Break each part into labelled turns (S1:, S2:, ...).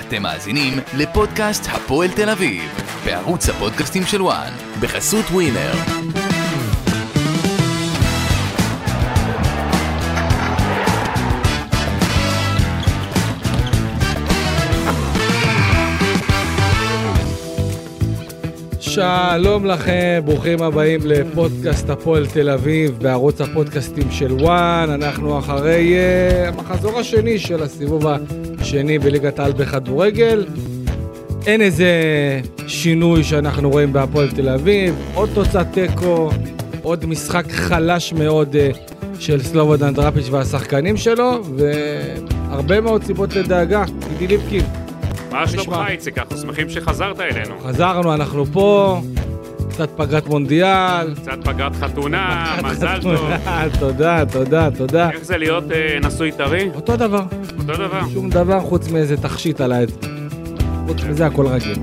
S1: אתם מאזינים לפודקאסט הפועל תל אביב, בערוץ הפודקאסטים של וואן, בחסות ווינר.
S2: שלום לכם, ברוכים הבאים לפודקאסט הפועל תל אביב בערוץ הפודקאסטים של וואן. אנחנו אחרי אה, המחזור השני של הסיבוב השני בליגת העל בכדורגל. אין איזה שינוי שאנחנו רואים בהפועל תל אביב, עוד תוצאת תיקו, עוד משחק חלש מאוד אה, של סלובודן דראפיץ' והשחקנים שלו, והרבה מאוד סיבות לדאגה. ידידי ליפקין,
S3: מה שלומך
S2: נשמע?
S3: איציק? אנחנו שמחים שחזרת אלינו.
S2: חזרנו, אנחנו פה, קצת פגרת מונדיאל.
S3: קצת פגרת חתונה, מזל טוב.
S2: תודה, תודה, תודה.
S3: איך זה להיות אה, נשוי טרי?
S2: אותו דבר,
S3: אותו דבר.
S2: שום דבר חוץ מאיזה תכשיט על העד. חוץ
S3: כן.
S2: מזה הכל רגיל.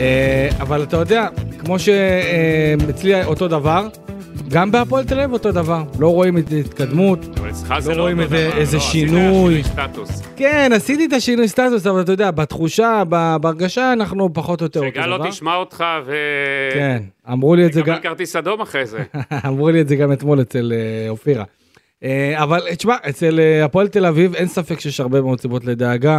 S2: אה, אבל אתה יודע, כמו שאצלי אותו דבר, גם בהפועל תל אביב אותו דבר. לא רואים את התקדמות.
S3: אבל אצלך זה
S2: לא
S3: לא
S2: רואים
S3: אותו
S2: איזה-
S3: דבר.
S2: איזה
S3: לא, עשית
S2: שינוי.
S3: סטטוס.
S2: כן, עשיתי את השינוי סטטוס, אבל אתה יודע, בתחושה, ב- בהרגשה, אנחנו פחות או יותר אותו
S3: שגל
S2: דבר.
S3: לא תשמע אותך ו...
S2: כן, אמרו לי את זה גם...
S3: תקבל כרטיס אדום אחרי זה.
S2: אמרו לי את זה גם אתמול אצל אה, אופירה. אה, אבל אה, תשמע, אצל אה, הפועל תל אביב אין ספק שיש הרבה מאוד סיבות לדאגה.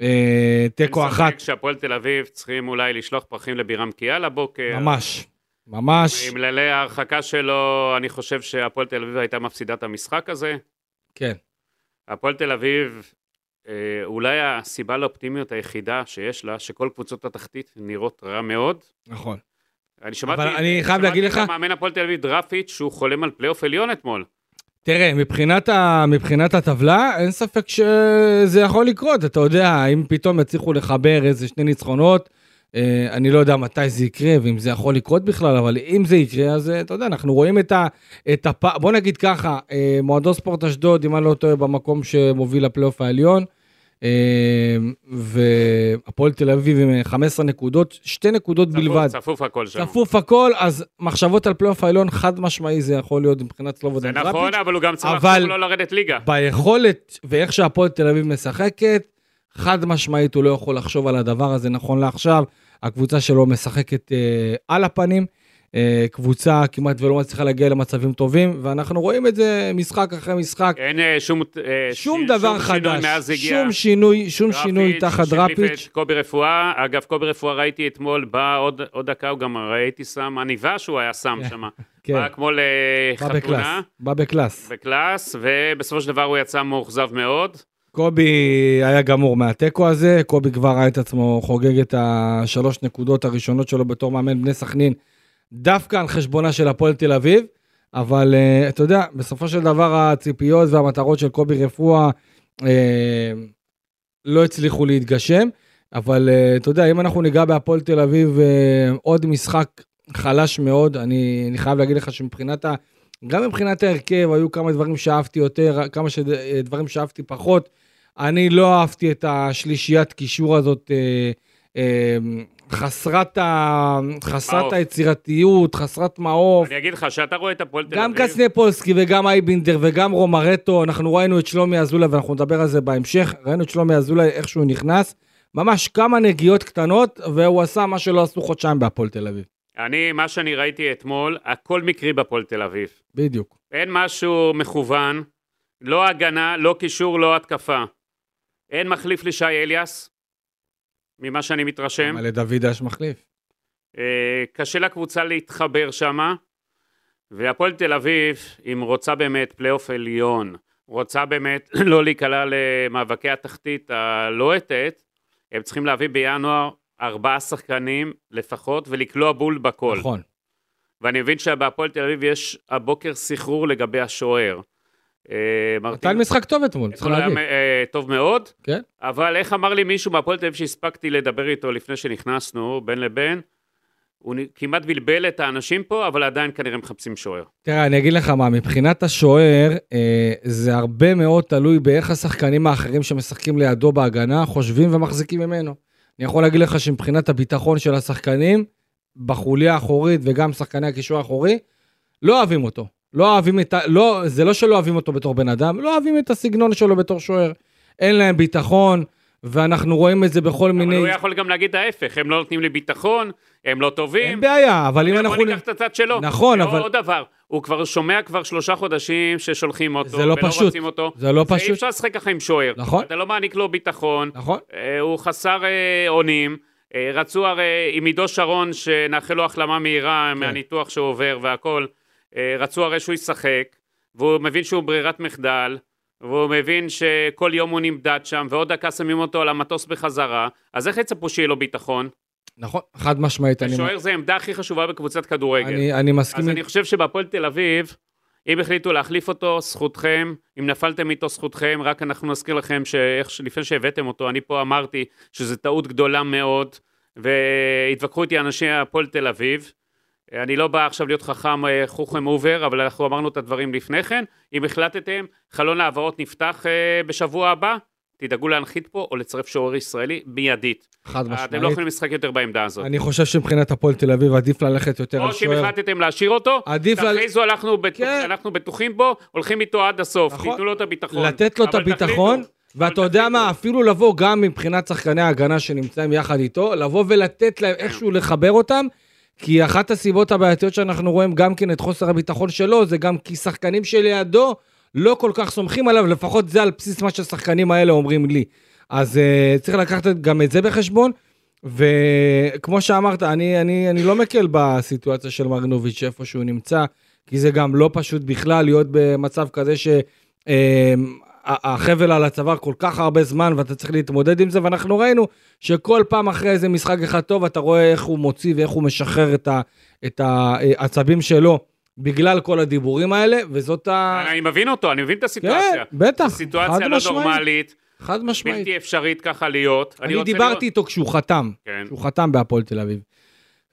S2: אה, תיקו
S3: אין ספק
S2: אחת,
S3: שהפועל תל אביב צריכים אולי לשלוח פרחים לבירם קיאל הבוקר.
S2: ממש, ממש,
S3: עם לילי ההרחקה שלו, אני חושב שהפועל תל אביב הייתה מפסידה את המשחק הזה.
S2: כן.
S3: הפועל תל אביב, אה, אולי הסיבה לאופטימיות היחידה שיש לה, שכל קבוצות התחתית נראות רע מאוד.
S2: נכון.
S3: אני שמעתי,
S2: אבל אני חייב להגיד לך-
S3: שמעתי את המאמן הפועל תל אביב דרפיץ' שהוא חולם על פלייאוף עליון אתמול.
S2: תראה, מבחינת, ה, מבחינת הטבלה, אין ספק שזה יכול לקרות. אתה יודע, אם פתאום יצליחו לחבר איזה שני ניצחונות, אה, אני לא יודע מתי זה יקרה ואם זה יכול לקרות בכלל, אבל אם זה יקרה, אז אה, אתה יודע, אנחנו רואים את, ה- את הפ... בוא נגיד ככה, אה, מועדון ספורט אשדוד, אם אני לא טועה, במקום שמוביל לפלייאוף העליון, אה, והפועל תל אביב עם 15 נקודות, שתי נקודות
S3: צפוף,
S2: בלבד.
S3: צפוף הכל שם.
S2: צפוף הכל, אז מחשבות על פלייאוף העליון, חד משמעי זה יכול להיות מבחינת
S3: זה
S2: סלובודן
S3: נכון, אבל הוא גם צריך
S2: אבל-
S3: לחשוב לא לרדת ליגה.
S2: ביכולת ואיך שהפועל תל אביב משחקת, חד משמעית הוא לא יכול לחשוב על הדבר הזה נכון לעכשיו. הקבוצה שלו משחקת אה, על הפנים, אה, קבוצה כמעט ולא מצליחה להגיע למצבים טובים, ואנחנו רואים את זה משחק אחרי משחק.
S3: אין אה, שום... אה,
S2: שום
S3: ש-
S2: דבר
S3: שום שינוי
S2: חדש,
S3: מאז הגיע
S2: שום שינוי, שום שינוי
S3: דראפיץ',
S2: תחת
S3: שהחליף
S2: דראפיץ'.
S3: את קובי רפואה, אגב, קובי רפואה ראיתי אתמול, בא עוד עוד דקה, הוא גם ראיתי שם עניבה שהוא היה שם
S2: כן,
S3: שם.
S2: כן,
S3: בא כמו
S2: בא
S3: לחתונה.
S2: בקלאס, בא בקלאס.
S3: בקלאס, ובסופו של דבר הוא יצא מאוכזב מאוד.
S2: קובי היה גמור מהתיקו הזה, קובי כבר ראה את עצמו חוגג את השלוש נקודות הראשונות שלו בתור מאמן בני סכנין, דווקא על חשבונה של הפועל תל אביב, אבל אה, אתה יודע, בסופו של דבר הציפיות והמטרות של קובי רפואה אה, לא הצליחו להתגשם, אבל אה, אתה יודע, אם אנחנו ניגע בהפועל תל אביב, אה, עוד משחק חלש מאוד, אני, אני חייב להגיד לך שמבחינת ה... גם מבחינת ההרכב, היו כמה דברים שאהבתי יותר, כמה שד, אה, דברים שאהבתי פחות. אני לא אהבתי את השלישיית קישור הזאת, אה, אה, חסרת, ה, חסרת
S3: מעוף.
S2: היצירתיות, חסרת מעוף.
S3: אני אגיד לך, שאתה רואה את הפועל תל
S2: גם
S3: אביב...
S2: קסניפולסקי וגם אייבינדר וגם רומרטו, אנחנו ראינו את שלומי אזולאי, ואנחנו נדבר על זה בהמשך, ראינו את שלומי אזולאי איך שהוא נכנס, ממש כמה נגיעות קטנות, והוא עשה מה שלא עשו חודשיים בהפועל תל אביב.
S3: אני, מה שאני ראיתי אתמול, הכל מקרי בפועל תל אביב.
S2: בדיוק.
S3: אין משהו מכוון, לא הגנה, לא קישור, לא התקפה. אין מחליף לשי אליאס, ממה שאני מתרשם.
S2: אבל לדוד יש מחליף.
S3: אה, קשה לקבוצה להתחבר שמה, והפועל תל אביב, אם רוצה באמת פלייאוף עליון, רוצה באמת לא להיקלע למאבקי התחתית הלוהטת, הם צריכים להביא בינואר ארבעה שחקנים לפחות ולקלוע בול בכל.
S2: נכון.
S3: ואני מבין שבהפועל תל אביב יש הבוקר סחרור לגבי השוער. אה,
S2: נתן משחק טוב אתמול, צריך
S3: אתמול היה
S2: להגיד.
S3: אה, טוב מאוד,
S2: כן?
S3: אבל איך אמר לי מישהו מהפועל תל אביב שהספקתי לדבר איתו לפני שנכנסנו, בין לבין, הוא נ- כמעט בלבל את האנשים פה, אבל עדיין כנראה מחפשים שוער.
S2: תראה, אני אגיד לך מה, מבחינת השוער, אה, זה הרבה מאוד תלוי באיך השחקנים האחרים שמשחקים לידו בהגנה חושבים ומחזיקים ממנו. אני יכול להגיד לך שמבחינת הביטחון של השחקנים, בחוליה האחורית וגם שחקני הקישור האחורי, לא אוהבים אותו. לא אוהבים את ה... לא, זה לא שלא אוהבים אותו בתור בן אדם, לא אוהבים את הסגנון שלו בתור שוער. אין להם ביטחון, ואנחנו רואים את זה בכל
S3: אבל
S2: מיני...
S3: הוא יכול גם להגיד ההפך, הם לא נותנים לי ביטחון, הם לא
S2: אין
S3: טובים,
S2: בעיה, אבל אם
S3: בוא
S2: אנחנו...
S3: ניקח את הצד שלו.
S2: נכון,
S3: ועוד-
S2: אבל-
S3: עוד דבר, הוא כבר שומע כבר שלושה חודשים ששולחים אותו,
S2: זה לא
S3: ולא
S2: פשוט.
S3: רוצים אותו.
S2: זה לא
S3: אי
S2: פשוט.
S3: אפשר לשחק ככה עם שוער.
S2: נכון.
S3: אתה לא מעניק לו ביטחון,
S2: נכון?
S3: אה, הוא חסר אה, אונים. אה, רצו הרי עם עידו שרון, שנאחל לו החלמה מהירה מהניתוח שהוא עובר והכל, אה, רצו הרי שהוא ישחק, והוא מבין שהוא ברירת מחדל, והוא מבין שכל יום הוא נמדד שם, ועוד דקה שמים אותו על המטוס בחזרה, אז איך יצפו שיהיה לו ביטחון?
S2: נכון, חד משמעית. אני-
S3: שוער זה העמדה הכי חשובה בקבוצת כדורגל.
S2: אני אני מסכים.
S3: אז אני חושב שבהפועל תל אביב, אם החליטו להחליף אותו, זכותכם. אם נפלתם איתו, זכותכם. רק אנחנו נזכיר לכם שאיך, ש- לפני שהבאתם אותו, אני פה אמרתי שזו טעות גדולה מאוד, והתווכחו איתי אנשי הפועל תל אביב. אני לא בא עכשיו להיות חכם אה, חוכם אובר, אבל אנחנו אמרנו את הדברים לפני כן. אם החלטתם, חלון ההעברות נפתח אה, בשבוע הבא, תדאגו להנחית פה או לצרף שוער ישראלי מיידית.
S2: חד
S3: אתם לא
S2: משמעית.
S3: יכולים לשחק יותר בעמדה הזאת.
S2: אני חושב שמבחינת הפועל תל אביב עדיף ללכת יותר על
S3: או שאם
S2: שוער.
S3: החלטתם להשאיר אותו,
S2: עדיף לה-
S3: תכריזו, אנחנו בטוח-
S2: כן.
S3: אנחנו בטוחים בו, הולכים איתו עד הסוף,
S2: נכון.
S3: תיתנו לו את הביטחון.
S2: לתת לו את
S3: נכון, אבל
S2: הביטחון,
S3: תחליטו.
S2: ואתה
S3: אבל
S2: יודע מה,
S3: תחליטו.
S2: אפילו לבוא גם מבחינת שחקני ההגנה שנמצאים יחד איתו, לבוא ולתת להם איכשהו לחבר אותם, כי אחת הסיבות הבעייתיות שאנחנו רואים גם כן את חוסר הביטחון שלו, זה גם כי שחקנים שלידו לא כל כך סומכים עליו, לפחות זה על בסיס מה שהשחקנים האלה אומרים לי. אז uh, צריך לקחת את- גם את זה בחשבון. וכמו שאמרת, אני, אני, אני לא מקל בסיטואציה של מרנוביץ' איפה שהוא נמצא, כי זה גם לא פשוט בכלל להיות במצב כזה שהחבל על הצוואר כל כך הרבה זמן ואתה צריך להתמודד עם זה, ואנחנו ראינו שכל פעם אחרי איזה משחק אחד טוב, אתה רואה איך הוא מוציא ואיך הוא משחרר את, ה, את העצבים שלו בגלל כל הדיבורים האלה, וזאת ה...
S3: אני מבין אותו, אני מבין את
S2: כן,
S3: הסיטואציה.
S2: בטח, חד
S3: סיטואציה לא
S2: משמעית,
S3: נורמלית,
S2: חד משמעית.
S3: בלתי אפשרית ככה להיות.
S2: אני
S3: רוצה
S2: דיברתי איתו כשהוא חתם,
S3: כן.
S2: כשהוא חתם בהפועל תל אביב.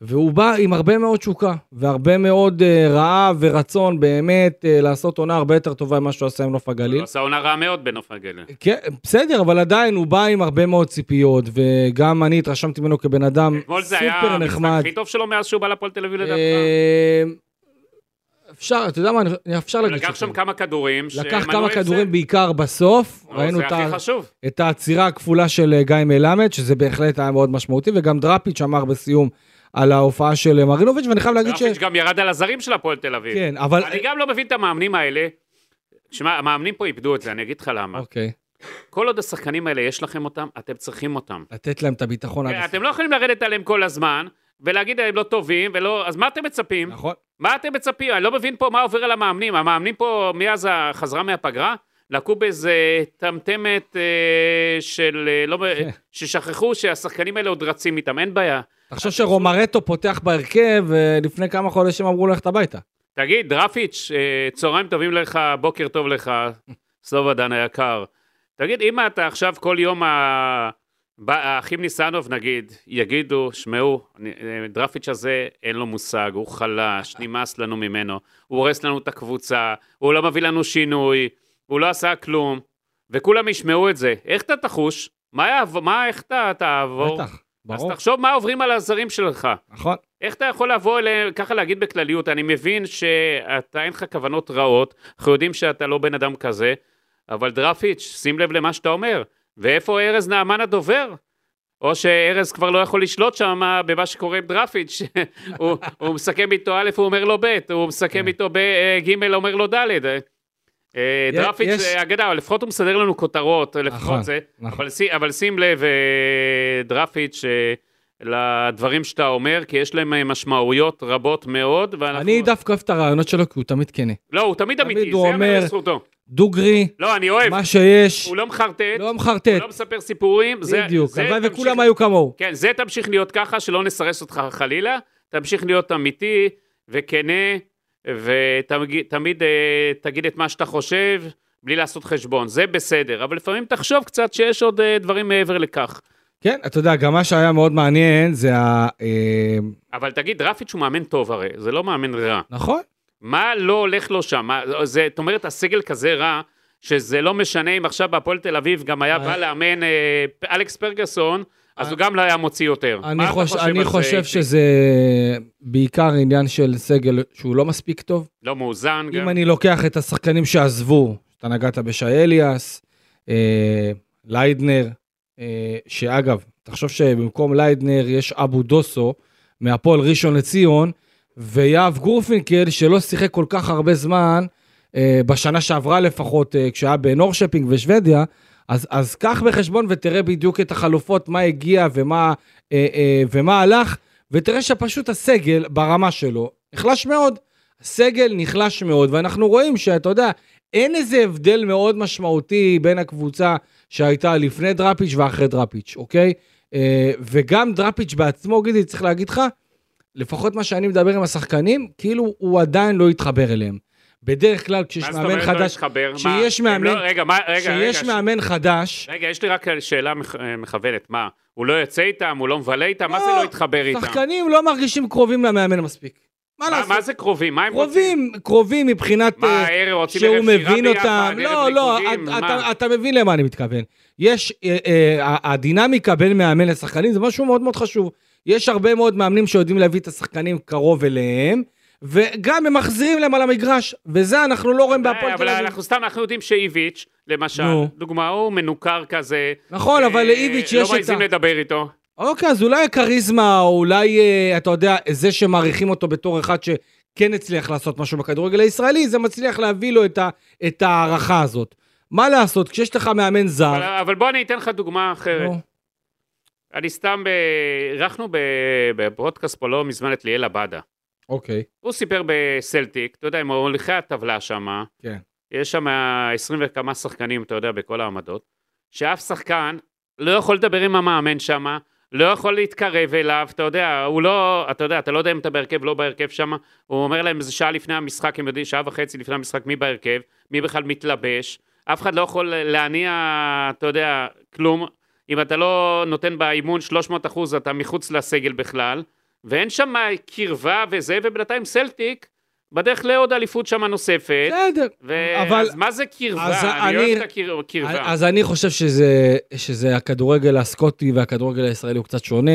S2: והוא בא עם הרבה מאוד תשוקה, והרבה מאוד אה, רעב ורצון באמת אה, לעשות עונה הרבה יותר טובה ממה שהוא עשה עם נוף
S3: לראות-
S2: הגליל.
S3: הוא עשה עונה רעה מאוד בנוף הגליל.
S2: כן, בסדר, אבל עדיין הוא בא עם הרבה מאוד ציפיות, וגם אני התרשמתי ממנו כבן אדם
S3: אתמול זה היה
S2: אה, סופר
S3: המשחק
S2: נחמד.
S3: הכי טוב שלו מאז שהוא בא לפועל תל אביב לדעתך.
S2: אה, אפשר, אתה יודע מה, אני- אפשר
S3: הוא
S2: להגיד
S3: לקח
S2: שכן.
S3: שם כמה כדורים.
S2: לא לקח
S3: שמנעו
S2: כמה
S3: הפסד.
S2: כדורים בעיקר בסוף,
S3: נו,
S2: ראינו את
S3: לא, זה
S2: ה...
S3: הכי חשוב.
S2: את העצירה הכפולה של אה, גיא מלמד, שזה בהחלט היה מאוד משמעותי, וגם דראפיץ' אמר בסיום על ההופעה של אה, מרינוביץ', ואני חייב להגיד ש...
S3: דראפיץ' גם ירד על הזרים של הפועל תל אביב.
S2: כן, אבל...
S3: אני גם לא מבין את המאמנים האלה. שמע, המאמנים פה איבדו את זה, אני אגיד לך למה.
S2: אוקיי,
S3: כל עוד השחקנים האלה יש לכם אותם, אתם צריכים אותם.
S2: לתת להם את הביטחון עד הסוף.
S3: אתם לא יכולים לרדת עליהם כל הזמן, ולהגיד הם לא טובים, ולא... אז מה אתם מצפים?
S2: נכון.
S3: מה אתם מצפים? אני לא מבין פה מה עובר על המאמנים. המאמנים פה, מאז החזרה מהפגרה, לקו באיזה טמטמת אה, של... אה, לא...
S2: כן.
S3: ששכחו שהשחקנים האלה עוד רצים איתם, אין בעיה.
S2: תחשוב שרומרטו פותח בהרכב, ולפני כמה חודשים אמרו ללכת הביתה.
S3: תגיד, דרפיץ', אה, צהריים טובים לך, בוקר טוב לך, סלובדן היקר. תגיד, אם אתה עכשיו כל יום ה- ב- האחים ניסנוב, נגיד, יגידו, שמעו, אני- אה, דרפיץ' הזה, אין לו מושג, הוא חלש, נמאס לנו ממנו, הוא הורס לנו את הקבוצה, הוא לא מביא לנו שינוי, הוא לא עשה כלום, וכולם ישמעו את זה. איך אתה תחוש? מה יעבור? מה, איך אתה תעבור?
S2: בטח,
S3: אז
S2: ברור,
S3: תחשוב מה עוברים על הזרים שלך.
S2: נכון.
S3: איך אתה יכול לבוא אליהם, ככה להגיד בכלליות, אני מבין שאתה, אין לך כוונות רעות, אנחנו יודעים שאתה לא בן אדם כזה, אבל דרפיץ', שים לב למה שאתה אומר. ואיפה ארז נעמן הדובר? או שארז כבר לא יכול לשלוט שם במה שקורה עם דרפיץ', הוא, הוא מסכם איתו א', הוא אומר לו ב', הוא מסכם
S2: כן.
S3: איתו ב', אה, ג', אומר לו ד'. אה, אה,
S2: יש-
S3: דרפיץ'
S2: יש-
S3: אה, אגדה, אבל לפחות הוא מסדר לנו כותרות,
S2: נכון,
S3: לפחות זה.
S2: נכון.
S3: אבל שי- אבל שים לב, אה, דרפיץ', אה, לדברים שאתה אומר, כי יש להם אה, משמעויות רבות מאוד, ואנחנו...
S2: אני דווקא אוהב את הרעיונות שלו, כי הוא תמיד כנה.
S3: לא, הוא תמיד
S2: תמיד
S3: אמיתי, זה
S2: הוא
S3: אומר
S2: אומר-
S3: לזכותו.
S2: דוגרי,
S3: לא, אני אוהב.
S2: מה שיש,
S3: הוא לא מחרטט,
S2: לא
S3: הוא
S2: מחרטט,
S3: לא מספר סיפורים. זה-
S2: בדיוק.
S3: זה
S2: הלוואי
S3: תמשיך-
S2: וכולם היו כמוהו.
S3: כן, זה תמשיך להיות ככה, שלא נסרס אותך חלילה. תמשיך להיות אמיתי וכנה, ותמיד אה, תגיד את מה שאתה חושב, בלי לעשות חשבון. זה בסדר, אבל לפעמים תחשוב קצת שיש עוד אה, דברים מעבר לכך.
S2: כן, אתה יודע, גם מה שהיה מאוד מעניין זה ה... אה,
S3: אבל תגיד, רפיץ' הוא מאמן טוב הרי, זה לא מאמן רע.
S2: נכון?
S3: מה לא הולך לו שם? מה- זה- זאת אומרת, הסגל כזה רע, שזה לא משנה אם עכשיו בהפועל תל אביב גם היה
S2: מה?
S3: בא לאמן אה, פ- אלכס פרגסון, אז
S2: אה.
S3: הוא גם לא היה מוציא יותר. מה
S2: אני
S3: אתה
S2: חושב,
S3: על
S2: אני
S3: זה,
S2: חושב
S3: איציק?
S2: שזה בעיקר עניין של סגל שהוא לא מספיק טוב.
S3: לא מאוזן גם.
S2: אם אני לוקח את השחקנים שעזבו, אתה נגעת בשי אליאס, אה, ליידנר, אה, שאגב, תחשוב שבמקום ליידנר יש אבו דוסו מהפועל ראשון לציון, ויהב גורפינקל, שלא שיחק כל כך הרבה זמן, אה, בשנה שעברה לפחות, אה, כשהיה בנורשפינג ושוודיה, אז, אז קח בחשבון ותראה בדיוק את החלופות, מה הגיע ומה, אה, אה, ומה הלך, ותראה שפשוט הסגל ברמה שלו נחלש מאוד. הסגל נחלש מאוד, ואנחנו רואים שאתה יודע, אין איזה הבדל מאוד משמעותי בין הקבוצה שהייתה לפני דראפיץ' ואחרי דראפיץ', אוקיי? אה, וגם דראפיץ' בעצמו, גידי, צריך להגיד לך, לפחות מה שאני מדבר עם השחקנים, כאילו הוא עדיין לא התחבר אליהם. בדרך כלל כשיש
S3: מה זאת
S2: מאמן
S3: אומרת לא
S2: חדש,
S3: להתחבר? מה,
S2: כשיש
S3: הם
S2: מאמן-
S3: לא- רגע, מה- רגע, רגע,
S2: כשיש מאמן חדש,
S3: רגע, יש לי רק שאלה מכ- מכוונת, מה, הוא לא יוצא איתם, הוא לא מבלה איתם, מה זה
S2: לא,
S3: לא יתחבר איתם?
S2: שחקנים לא מרגישים קרובים למאמן מספיק. מה
S3: מה- מה
S2: לעשות?
S3: זה קרובים? מה הם רוצים?
S2: קרובים, קרובים מבחינת... אה,
S3: מה, ערב רוצים
S2: שהוא
S3: ערב שירה
S2: מבין
S3: ביחד,
S2: אותם,
S3: ערב
S2: לא, לא,
S3: ריקודים,
S2: אתה-
S3: מה?
S2: אתה- אתה מבין למה אני מתכוון. יש, אה, אה, ה- הדינמיקה בין מאמן לשחקנים זה משהו מאוד מאוד חשוב. יש הרבה מאוד מאמנים שיודעים להביא את השחקנים קרוב אליהם, וגם הם מחזירים להם על המגרש, וזה אנחנו לא רואים בהפועל
S3: אבל
S2: תל אביב.
S3: אנחנו סתם, אנחנו יודעים שאיביץ', למשל,
S2: נו.
S3: דוגמה, הוא מנוכר כזה.
S2: נכון, אבל
S3: אה,
S2: לאיביץ' יש
S3: לא
S2: את ה...
S3: מעזים לדבר איתו.
S2: אוקיי, אז אולי הכריזמה, או אולי, אה, אתה יודע, זה שמעריכים אותו בתור אחד שכן הצליח לעשות משהו בכדורגל הישראלי, זה מצליח להביא לו את ה- את ההערכה הזאת. מה לעשות, כשיש לך מאמן
S3: אבל-
S2: זר...
S3: אבל בוא אני אתן לך דוגמה אחרת.
S2: אה. נו.
S3: אני סתם, ב- אירחנו ב- בפודקאסט פה לא מזמן את ליאל עבדה.
S2: אוקיי.
S3: הוא סיפר בסלטיק, אתה יודע, עם הוליכי הטבלה שם,
S2: כן.
S3: יש שם 20 וכמה שחקנים, אתה יודע, בכל העמדות, שאף שחקן לא יכול לדבר עם המאמן שם, לא יכול להתקרב אליו, אתה יודע, הוא לא, אתה יודע, אתה לא יודע אם אתה בהרכב, לא בהרכב שם, הוא אומר להם איזה שעה לפני המשחק, הם יודעים, שעה וחצי לפני המשחק, מי בהרכב, מי בכלל מתלבש, אף אחד לא יכול להניע, אתה יודע, כלום. אם אתה לא נותן באימון 300 אחוז, אתה מחוץ לסגל בכלל, ואין שם קרבה וזה, ובינתיים סלטיק, בדרך לעוד אליפות שם נוספת.
S2: בסדר.
S3: ו-
S2: אבל-
S3: אז מה זה קרבה?
S2: אז
S3: אני
S2: אני-
S3: אוהב את הקר- הקרבה.
S2: אז אני חושב שזה, שזה הכדורגל הסקוטי והכדורגל הישראלי הוא קצת שונה.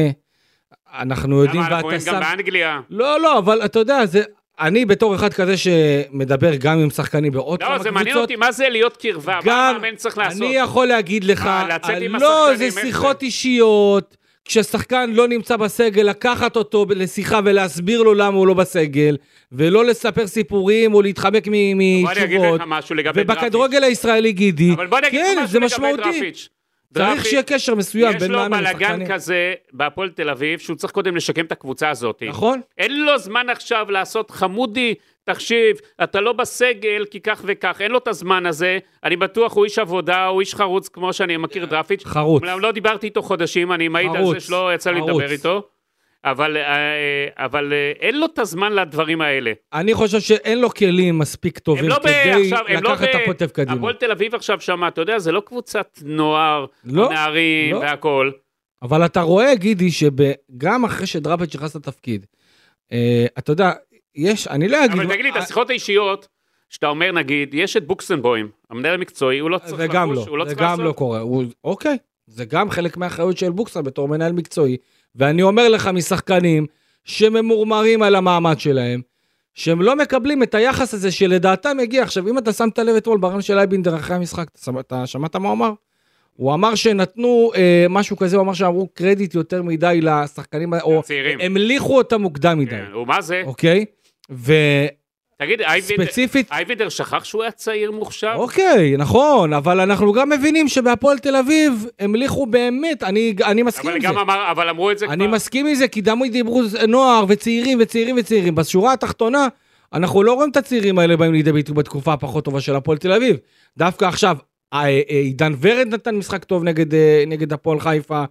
S2: אנחנו יודעים,
S3: למה אנחנו רואים גם באנגליה?
S2: לא, לא, אבל אתה יודע, זה... אני בתור אחד כזה שמדבר גם עם שחקנים בעוד כמה
S3: לא,
S2: קבוצות,
S3: זה מעניין אותי מה זה להיות קרבה, מה
S2: גם
S3: המאמן צריך לעשות.
S2: אני יכול להגיד לך,
S3: מה, לצאת עם
S2: לא,
S3: השחקנים,
S2: זה
S3: איך
S2: שיחות
S3: זה?
S2: אישיות, כששחקן לא נמצא בסגל, לקחת אותו ב- לשיחה ולהסביר לו למה הוא לא בסגל, ולא לספר סיפורים או להתחמק מ-
S3: בוא אני אגיד לך
S2: מתשובות.
S3: משהו לגבי דראפיץ'.
S2: ובכדורגל הישראלי, גידי,
S3: אבל בוא אני אגיד לך
S2: כן,
S3: משהו
S2: זה
S3: לגבי
S2: משמעותי.
S3: דראפיץ'.
S2: צריך
S3: דראפיץ',
S2: שיהיה קשר מסוים
S3: יש
S2: בין
S3: לו
S2: מאמן
S3: בלאגן
S2: לשחקנים.
S3: כזה בהפועל תל אביב, שהוא צריך קודם לשקם את הקבוצה הזאת.
S2: נכון?
S3: אין לו זמן עכשיו לעשות חמודי, תקשיב, אתה לא בסגל כי כך וכך, אין לו את הזמן הזה, אני בטוח הוא איש עבודה, הוא איש חרוץ כמו שאני מכיר דרפיץ'.
S2: אה, חרוץ.
S3: אומנם לא דיברתי איתו חודשים, אני מעיד על
S2: חרוץ,
S3: זה שלא יצא לי
S2: חרוץ.
S3: לדבר איתו, אבל, אה, אבל אה, אין לו את הזמן לדברים האלה.
S2: אני חושב שאין לו כלים מספיק
S3: הם
S2: טובים
S3: לא ב...
S2: כדי
S3: עכשיו, הם לא ב...
S2: לקחת את הפוטב קדימה.
S3: הפועל תל אביב עכשיו שמה, אתה יודע, זה לא קבוצת נוער,
S2: לא,
S3: נערים
S2: לא.
S3: והכול.
S2: אבל אתה רואה, גידי, שגם אחרי שדראפיץ' נכנס לתפקיד, אה, אתה יודע, יש, אני לא אגיד...
S3: אבל תגיד לי, את השיחות האישיות, שאתה אומר, נגיד, יש את בוקסנבוים, המנהל המקצועי, הוא לא צריך
S2: זה גם
S3: לחוש,
S2: לא,
S3: הוא לא
S2: זה
S3: צריך
S2: גם לא
S3: לעשות.
S2: קורה. הוא- אוקיי, זה גם חלק מהאחריות של בוקסה בתור מנהל מקצועי. ואני אומר לך משחקנים שממורמרים על המעמד שלהם, שהם לא מקבלים את היחס הזה שלדעתם הגיע. עכשיו, אם אתה שמת לב אתמול ברעיון של אייבינדר אחרי המשחק, אתה שמ- אתה שמעת מה הוא אמר? הוא אמר שנתנו אה, משהו כזה, הוא אמר שאמרו קרדיט יותר מדי לשחקנים, ה- או
S3: הצעירים.
S2: המליכו אותם מוקדם מדי,
S3: כן, הוא מה זה?
S2: אוקיי? וספציפית,
S3: תגיד, אייבינדר- אייבינדר שכח שהוא היה צעיר מוכשר?
S2: אוקיי, נכון, אבל אנחנו גם מבינים שבהפועל תל אביב המליכו באמת, אני, אני מסכים
S3: אבל
S2: עם כן, זה.
S3: גם אמר, אבל אמרו את זה כבר.
S2: אני מסכים עם זה, כי תמיד דיברו ז- נוער וצעירים וצעירים וצעירים. בשורה התחתונה, אנחנו לא רואים את הצעירים האלה באים לידי ביטוי בתקופה הפחות טובה של הפועל תל אביב. דווקא עכשיו, אה, אה, עידן ורד נתן משחק טוב נגד, אה, נגד הפועל חיפה,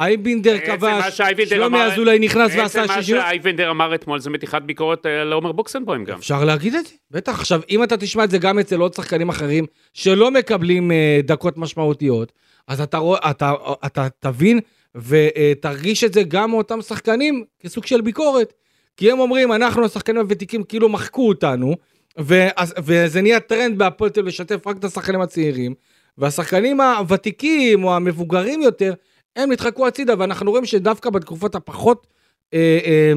S2: אייבינדר
S3: בעצם מה
S2: כבש,
S3: שאייבינדר
S2: שלומי
S3: אמר-
S2: אזולאי נכנס
S3: בעצם
S2: ועשה
S3: מה
S2: שישיות.
S3: שאייבנדר אמר אתמול זה מתיחת ביקורת אה, לעומר בוקסנבוים גם.
S2: אפשר להגיד את זה, בטח. עכשיו, אם אתה תשמע את זה גם אצל עוד שחקנים אחרים שלא מקבלים אה, דקות משמעותיות, אז אתה, רוא- אתה, אתה תבין ותרגיש את זה גם מאותם שחקנים כסוג של ביקורת. כי הם אומרים, אנחנו השחקנים הוותיקים כאילו מחקו אותנו, ואז, וזה נהיה טרנד בהפועל תל אביב לשתף רק את השחקנים הצעירים, והשחקנים הוותיקים או המבוגרים יותר, הם נדחקו הצידה, ואנחנו רואים שדווקא בתקופות הפחות... אה, אה,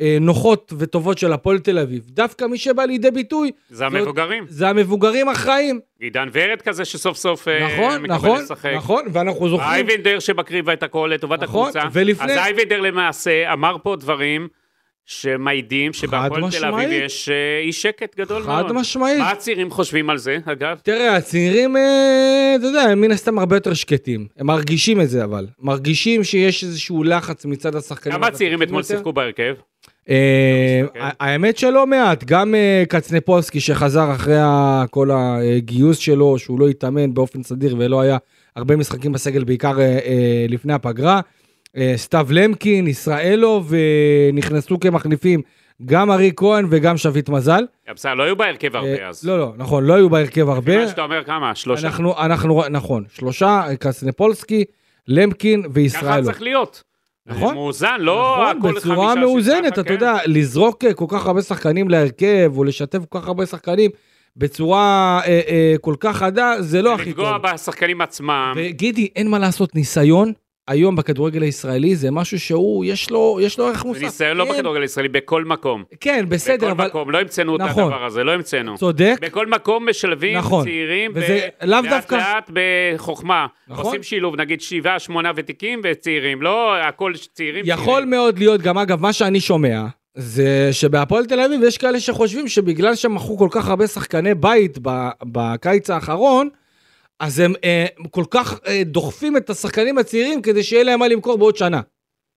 S2: אה, נוחות וטובות של הפועל תל אביב, דווקא מי שבא לידי ביטוי
S3: זה המבוגרים.
S2: זה המבוגרים האחראים.
S3: עידן ורד כזה שסוף סוף אה,
S2: נכון,
S3: מקבל
S2: נכון,
S3: לשחק.
S2: נכון, ואנחנו זוכרים...
S3: אייבנדר שבקריבה את הכל לטובת
S2: נכון,
S3: הקבוצה.
S2: ולפני-
S3: אז אייבנדר למעשה אמר פה דברים שמעידים שבהפועל תל אביב
S2: משמעית.
S3: יש אה, אי שקט גדול
S2: חד
S3: מאוד.
S2: משמעית.
S3: נכון.
S2: כן,
S3: מה הצעירים חושבים על זה, אגב?
S2: תראה, הצעירים, אה, אתה יודע, הם מן הסתם הרבה יותר שקטים. הם מרגישים את זה, אבל. מרגישים שיש איזשהו לחץ מצד השחקנים.
S3: כמה הצעירים
S2: הוותיקים
S3: אתמול
S2: יותר.
S3: שיחקו בהרכב?
S2: אה,
S3: מסתכל.
S2: ה- האמת שלא מעט, גם אה, קצנפולסקי שחזר אחרי ה- כל הגיוס שלו, שהוא לא התאמן באופן סדיר ולא היה הרבה משחקים בסגל, בעיקר אה, אה, לפני הפגרה. אה, סתיו למקין, ישראלוב, אה, נכנסו כמחליפים גם ארי כהן וגם שביט מזל.
S3: בסדר, לא היו בהרכב הרבה
S2: אה,
S3: אז.
S2: לא, לא, נכון, לא היו בהרכב הרבה.
S3: מה שאתה אומר כמה? שלושה.
S2: אנחנו, אנחנו, נכון, שלושה, קסנפולסקי, למקין
S3: ככה
S2: וישראלו.
S3: צריך להיות.
S2: לא. נכון.
S3: מאוזן, לא
S2: נכון,
S3: הכל חמישה.
S2: בצורה
S3: שישה,
S2: מאוזנת,
S3: ככה,
S2: אתה
S3: כן.
S2: יודע, לזרוק אה, כל כך הרבה שחקנים להרכב, או לשתף כל כך הרבה שחקנים בצורה אה, אה, כל כך חדה, זה לא הכי טוב.
S3: לפגוע בשחקנים עצמם.
S2: וגידי, אין מה לעשות, ניסיון היום בכדורגל הישראלי זה משהו שהוא, יש לו, יש לו ערך מוסף.
S3: זה ניסיון לא
S2: אין-
S3: בכדורגל הישראלי, בכל מקום.
S2: כן, בסדר,
S3: בכל
S2: אבל
S3: מקום, לא המצאנו את
S2: נכון.
S3: הדבר הזה, לא המצאנו.
S2: צודק.
S3: בכל מקום משלבים
S2: נכון.
S3: צעירים,
S2: וזה לאו דווקא-
S3: לאט בחוכמה.
S2: נכון.
S3: עושים שילוב, נגיד שבעה, שמונה ותיקים וצעירים, לא הכל צעירים.
S2: יכול
S3: צעירים.
S2: מאוד להיות, גם אגב, מה שאני שומע, זה שבהפועל תל אביב יש כאלה שחושבים שבגלל שמכרו כל כך הרבה שחקני בית ב- בקיץ האחרון, אז הם אה, כל כך אה, דוחפים את השחקנים הצעירים כדי שיהיה להם מה למכור בעוד שנה,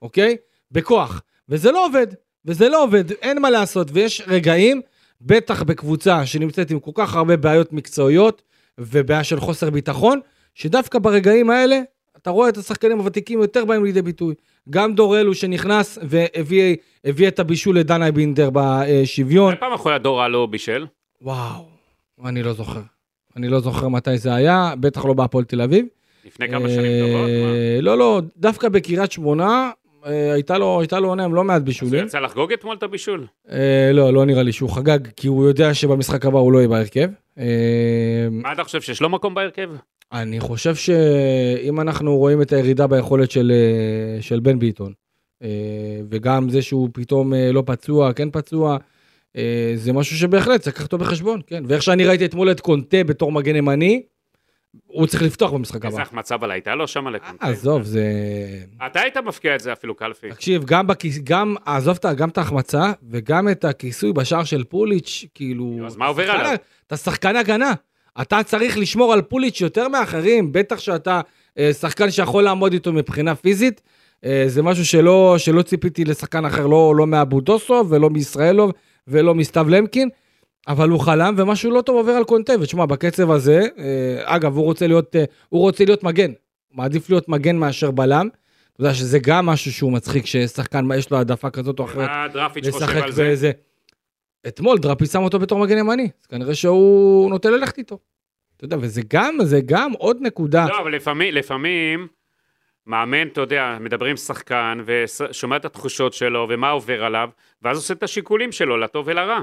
S2: אוקיי? בכוח. וזה לא עובד, וזה לא עובד, אין מה לעשות. ויש רגעים, בטח בקבוצה שנמצאת עם כל כך הרבה בעיות מקצועיות ובעיה של חוסר ביטחון, שדווקא ברגעים האלה, אתה רואה את השחקנים הוותיקים יותר באים לידי ביטוי. גם דורלו שנכנס והביא הביא את הבישול לדן אייבינדר בשוויון.
S3: מתי פעם אחרונה דור אלו בישל?
S2: וואו, אני לא זוכר. אני לא זוכר מתי זה היה, בטח לא בהפועל תל אביב.
S3: לפני כמה שנים טובות? מה?
S2: אה, לא, לא, דווקא בקריית שמונה, אה, הייתה לו הייתה לו עונה עם לא מעט
S3: אז הוא
S2: בישולים.
S3: יצא לחגוג אתמול את הבישול?
S2: אה, לא, לא נראה לי שהוא חגג, כי הוא יודע שבמשחק הבא הוא לא יהיה בהרכב. אה,
S3: מה אתה חושב, שיש לו מקום בהרכב?
S2: אני חושב שאם אנחנו רואים את הירידה ביכולת של, אה, של בן ביטון, אה, וגם זה שהוא פתאום אה, לא פצוע, כן פצוע, אה, זה משהו שבהחלט צריך לקחת אותו בחשבון, כן. ואיך שאני ראיתי אתמול את קונטה בתור מגן ימני, הוא צריך לפתוח במשחק
S3: איזה
S2: הבא.
S3: החמצה אבל הייתה לו שם לקונטה.
S2: עזוב, זה...
S3: אתה היית מפקיע את זה אפילו קלפי.
S2: תקשיב, גם בכיס... גם, עזוב את ה- גם את ההחמצה, וגם את הכיסוי בשער של פוליץ', כאילו...
S3: אז מה עובר
S2: שחקן-
S3: עליו?
S2: אתה שחקן הגנה. אתה צריך לשמור על פוליץ' יותר מאחרים, בטח שאתה אה, שחקן שיכול לעמוד איתו מבחינה פיזית. אה, זה משהו שלא, שלא ציפיתי לשחקן אחר, לא, לא מאבודוסו ולא מישראלוב ולא מסתיו למקין, אבל הוא חלם ומשהו לא טוב עובר על קונטה. ותשמע, בקצב הזה, אה, אגב, הוא רוצה להיות, אה, הוא רוצה להיות מגן. הוא מעדיף להיות מגן מאשר בלם. אתה יודע שזה גם משהו שהוא מצחיק, ששחקן, יש לו העדפה כזאת או אחרת.
S3: מה דרפיץ' אה, חושב
S2: לשחק
S3: על זה?
S2: באיזה... אתמול דראפי שם אותו בתור מגן ימני, אז כנראה שהוא נוטה ללכת איתו. אתה יודע, וזה גם, זה גם עוד נקודה.
S3: לא, אבל לפעמים, לפעמים, מאמן, אתה יודע, מדבר עם שחקן ושומע את התחושות שלו ומה עובר עליו, ואז עושה את השיקולים שלו, לטוב ולרע.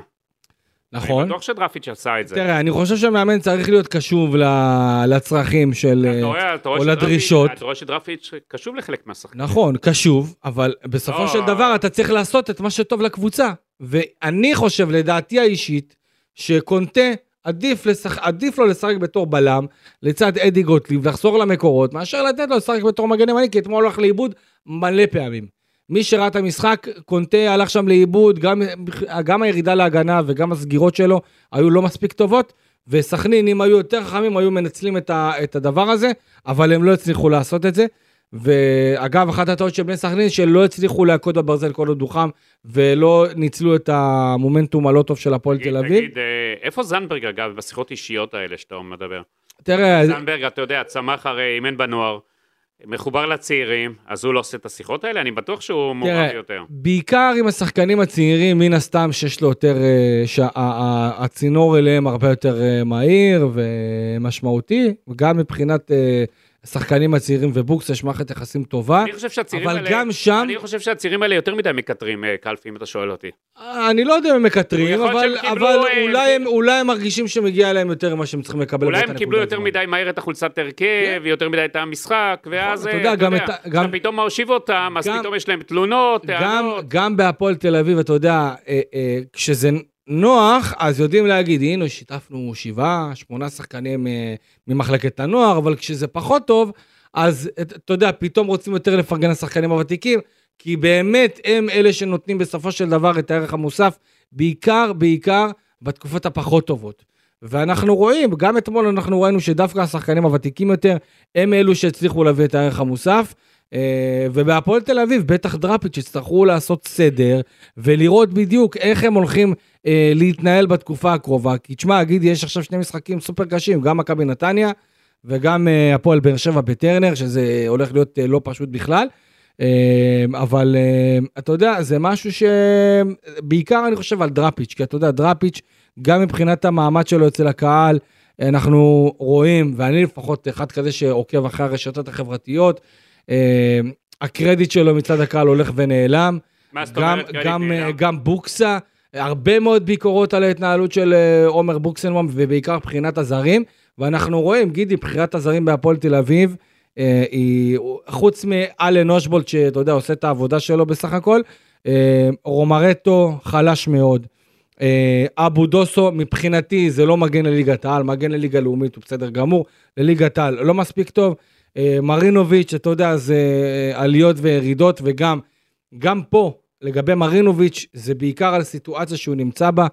S2: נכון?
S3: אני בטוח שדרפיץ' עשה את זה.
S2: תראה, אני חושב שהמאמן צריך להיות קשוב ל- לצרכים של...
S3: כן,
S2: אה,
S3: אתה רואה- אתה רואה
S2: או
S3: שדרפיץ'-
S2: לדרישות.
S3: אתה רואה שדרפיץ' קשוב לחלק מהשחקנים.
S2: נכון, קשוב, אבל בסופו
S3: לא.
S2: של דבר אתה צריך לעשות את מה שטוב לקבוצה. ואני חושב, לדעתי האישית, שקונטה, עדיף, לשח... עדיף לו לשחק בתור בלם לצד אדי גוטליב, לחזור למקורות, מאשר לתת לו לשחק בתור מגן ימני, כי אתמול הוא הלך לאיבוד מלא פעמים. מי שראה את המשחק, קונטה הלך שם לאיבוד, גם, גם הירידה להגנה וגם הסגירות שלו היו לא מספיק טובות, וסכנין, אם היו יותר חכמים, היו מנצלים את, ה, את הדבר הזה, אבל הם לא הצליחו לעשות את זה. ואגב, אחת הטעות של בני סכנין, שלא הצליחו להכות בברזל כל עוד הוא חם, ולא ניצלו את המומנטום הלא טוב של הפועל
S3: תגיד,
S2: תל אביב.
S3: תגיד, אה, איפה זנדברג, אגב, בשיחות אישיות האלה שאתה מדבר?
S2: תראה, אז-
S3: זנדברג, אתה יודע, צמח הרי אימן בנוער, מחובר לצעירים, אז הוא לא עושה את השיחות האלה? אני בטוח שהוא מעורב
S2: תראה,
S3: יותר.
S2: בעיקר עם השחקנים הצעירים, מן הסתם שיש לו יותר, אה, שה- ה- ה- הצינור אליהם הרבה יותר אה, מהיר ומשמעותי, גם מבחינת אה, השחקנים הצעירים ובוקס, יש מערכת יחסים טובה.
S3: אני חושב שהצעירים
S2: אבל
S3: האלה...
S2: גם שם-
S3: אני חושב שהצעירים האלה יותר מדי מקטרים, אה, קלפי, אם אתה שואל אותי.
S2: אני לא יודע אם הם מקטרים,
S3: יכול להיות
S2: אבל,
S3: שהם קיבלו,
S2: אבל
S3: אה,
S2: אולי, הם, אולי הם מרגישים שמגיע להם יותר ממה שהם צריכים לקבל.
S3: אולי
S2: באותה
S3: הם קיבלו
S2: נקודת
S3: יותר
S2: זמן.
S3: מדי מהר את החולצת הרכב, יותר מדי את המשחק, ואז...
S2: נכון, אתה
S3: אה,
S2: יודע, גם את ה- גם-
S3: עכשיו פתאום מושיב אותם, אז
S2: גם-
S3: פתאום יש להם תלונות, אה,
S2: גם,
S3: טענות.
S2: גם בהפועל תל אביב, אתה יודע, אה, אה, כשזה נוח, אז יודעים להגיד, הנה, שיתפנו שבעה, שמונה שחקנים אה, ממחלקת הנוער, אבל כשזה פחות טוב, אז את- אתה יודע, פתאום רוצים יותר לפרגן לשחקנים הוותיקים, כי באמת הם אלה שנותנים בסופו של דבר את הערך המוסף, בעיקר, בעיקר בתקופות הפחות טובות. ואנחנו רואים, גם אתמול אנחנו ראינו שדווקא השחקנים הוותיקים יותר, הם אלו שהצליחו להביא את הערך המוסף. אה, ובהפועל תל אביב, בטח דראפיץ' יצטרכו לעשות סדר ולראות בדיוק איך הם הולכים אה, להתנהל בתקופה הקרובה. כי תשמע, אגיד, יש עכשיו שני משחקים סופר קשים, גם מכבי נתניה וגם אה, הפועל באר שבע בטרנר, שזה הולך להיות אה, לא פשוט בכלל. אה, אבל אה, אתה יודע, זה משהו שבעיקר אני חושב על דראפיץ', כי אתה יודע, דראפיץ', גם מבחינת המעמד שלו אצל הקהל, אנחנו רואים, ואני לפחות אחד כזה שעוקב אחרי הרשתות החברתיות, אה, הקרדיט שלו מצד הקהל הולך ונעלם.
S3: מה זאת
S2: גם,
S3: אומרת, קרדיט
S2: גם, אה,
S3: נעלם?
S2: גם בוקסה, הרבה מאוד ביקורות על ההתנהלות של אה, עומר בוקסנבאום, ובעיקר מבחינת הזרים. ואנחנו רואים, גידי, בחירת הזרים בהפועל תל אביב, אה, היא, חוץ מאלן אושבולט, שאתה יודע, עושה את העבודה שלו בסך הכל, אה, רומרטו חלש מאוד. אה, אבו דוסו, מבחינתי זה לא מגן לליגת העל, מגן לליגה לאומית הוא בסדר גמור, לליגת העל לא מספיק טוב. אה, מרינוביץ', אתה יודע, זה אה, עליות וירידות, וגם גם פה, לגבי מרינוביץ', זה בעיקר על סיטואציה שהוא נמצא בה,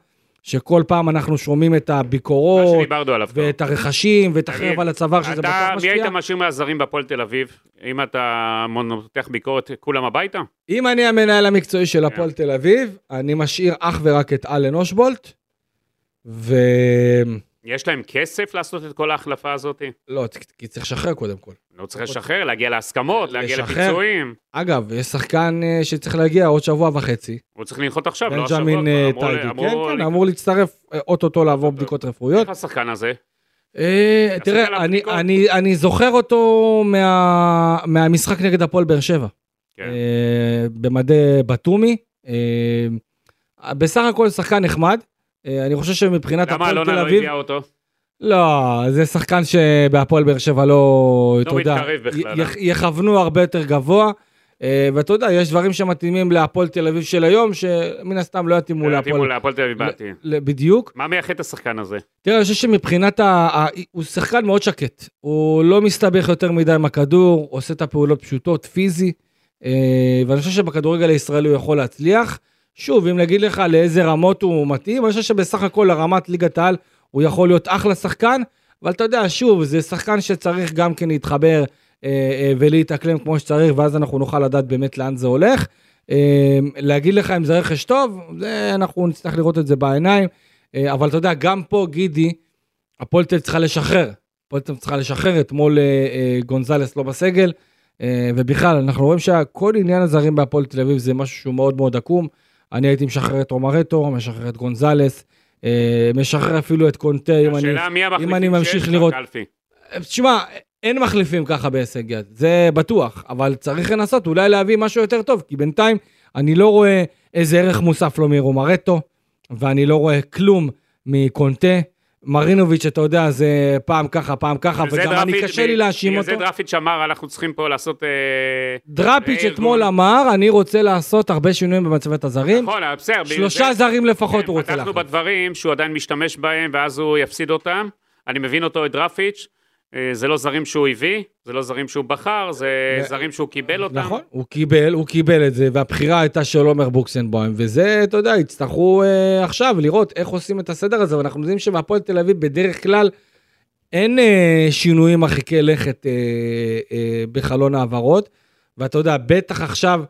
S2: שכל פעם אנחנו שומעים את
S3: מה
S2: הביקורות,
S3: שדיברנו עליו. כבר.
S2: ואת הרחשים, ואת החרב
S3: תגיד,
S2: על הצוואר, שזה בטח
S3: אתה, מי
S2: משפיע.
S3: היית משאיר מהזרים בהפועל תל אביב? אם אתה מותח ביקורת, כולם הביתה?
S2: אם אני המנהל המקצועי
S3: כן.
S2: של הפועל תל אביב, אני משאיר אך ורק את אלן אושבולט, ו...
S3: יש להם כסף לעשות את כל ההחלפה הזאת?
S2: לא, כי צריך לשחרר קודם כל.
S3: לא צריך לשחרר, להגיע להסכמות, להגיע
S2: לשחרר.
S3: לפיצויים.
S2: אגב, יש שחקן אה, שצריך להגיע עוד שבוע וחצי,
S3: הוא צריך לנחות עכשיו, לא השבוע.
S2: בנג'מין אה,
S3: כבר אמרו-
S2: טייגי,
S3: אמרו-
S2: כן, כן, אמור להצטרף אה, אוטוטו לעבור בדיקות רפואיות.
S3: איך השחקן הזה?
S2: אה,
S3: עשית עליו
S2: תראה, אני-
S3: בדיקות?
S2: אני- אני זוכר אותו מה- מהמשחק נגד הפועל באר שבע.
S3: כן.
S2: אה, במדי בתומי. אה, בסך הכל שחקן נחמד. אה, אני חושב שמבחינת
S3: למה
S2: הפועל
S3: אלונה
S2: תל
S3: לא
S2: אביב...
S3: הביאה אותו?
S2: לא, זה שחקן שבהפועל באר שבע לא... אתה יודע,
S3: מתקרב בכלל,
S2: י-
S3: אה?
S2: יכוונו הרבה יותר גבוה. אה, ואתה יודע, יש דברים שמתאימים להפועל תל אביב של היום, שמן הסתם לא יתאימו
S3: אה, מול
S2: להפועל...
S3: הפועל תל
S2: לא-
S3: אביב באתי.
S2: ל- בדיוק.
S3: מה מייחד את השחקן הזה?
S2: תראה, אני חושב שמבחינת ה... ה... הוא שחקן מאוד שקט. הוא לא מסתבך יותר מדי עם הכדור, עושה את הפעולות פשוטות, פיזי, אה, ואני חושב שבכדורגל הישראלי הוא יכול להצליח. שוב, אם נגיד לך לאיזה רמות הוא מתאים, אני חושב שבסך הכל לרמת ליגת העל הוא יכול להיות אחלה שחקן, אבל אתה יודע, שוב, זה שחקן שצריך גם כן להתחבר אה, אה, ולהתאקלם כמו שצריך, ואז אנחנו נוכל לדעת באמת לאן זה הולך. אה, להגיד לך אם זה רכש טוב, זה, אנחנו נצטרך לראות את זה בעיניים. אה, אבל אתה יודע, גם פה, גידי, הפועל תל אביב צריכה לשחרר. הפועל תל אביב צריכה לשחרר, אתמול אה, אה, גונזלס לא בסגל, אה, ובכלל, אנחנו רואים שכל עניין הזרים בהפועל תל אביב זה משהו שהוא מאוד מאוד עקום. אני הייתי משחרר את רומרטו, משחרר את גונזלס, אה, משחרר אפילו את קונטה, אם אני...
S3: השאלה מי
S2: אני
S3: המחליפים
S2: ממשיך
S3: שיש
S2: לראות-
S3: בקלפי?
S2: תשמע, אין מחליפים ככה בהישג יד, זה בטוח, אבל צריך לנסות אולי להביא משהו יותר טוב, כי בינתיים אני לא רואה איזה ערך מוסף לא מרומרטו, ואני לא רואה כלום מקונטה. מרינוביץ', אתה יודע, זה פעם ככה, פעם ככה,
S3: וזה
S2: וגם אני
S3: דראפיץ',
S2: קשה לי
S3: ב-
S2: להאשים
S3: בגלל
S2: אותו.
S3: זה דרפיץ' אמר, אנחנו צריכים פה לעשות... אה,
S2: דראפיץ'
S3: אה,
S2: אתמול
S3: ארגון.
S2: אמר, אני רוצה לעשות הרבה שינויים במצבת הזרים.
S3: נכון, אבל בסדר. בגלל
S2: כן. שלושה
S3: זה-
S2: זרים לפחות הוא
S3: כן,
S2: רוצה
S3: פתחנו
S2: להחליט.
S3: בדברים שהוא עדיין משתמש בהם, ואז הוא יפסיד אותם. אני מבין אותו, את דרפיץ'. אה, זה לא זרים שהוא הביא, זה לא זרים שהוא בחר, זה
S2: ו-
S3: זרים שהוא קיבל אותם.
S2: נכון, הוא קיבל, הוא קיבל את זה, והבחירה הייתה של עומר בוקסנבוים, וזה, אתה יודע, יצטרכו אה, עכשיו לראות איך עושים את הסדר הזה, ואנחנו יודעים שבהפועל תל אביב בדרך כלל אין אה, שינויים מרחיקי לכת אה, אה, בחלון העברות, ואתה יודע, בטח עכשיו,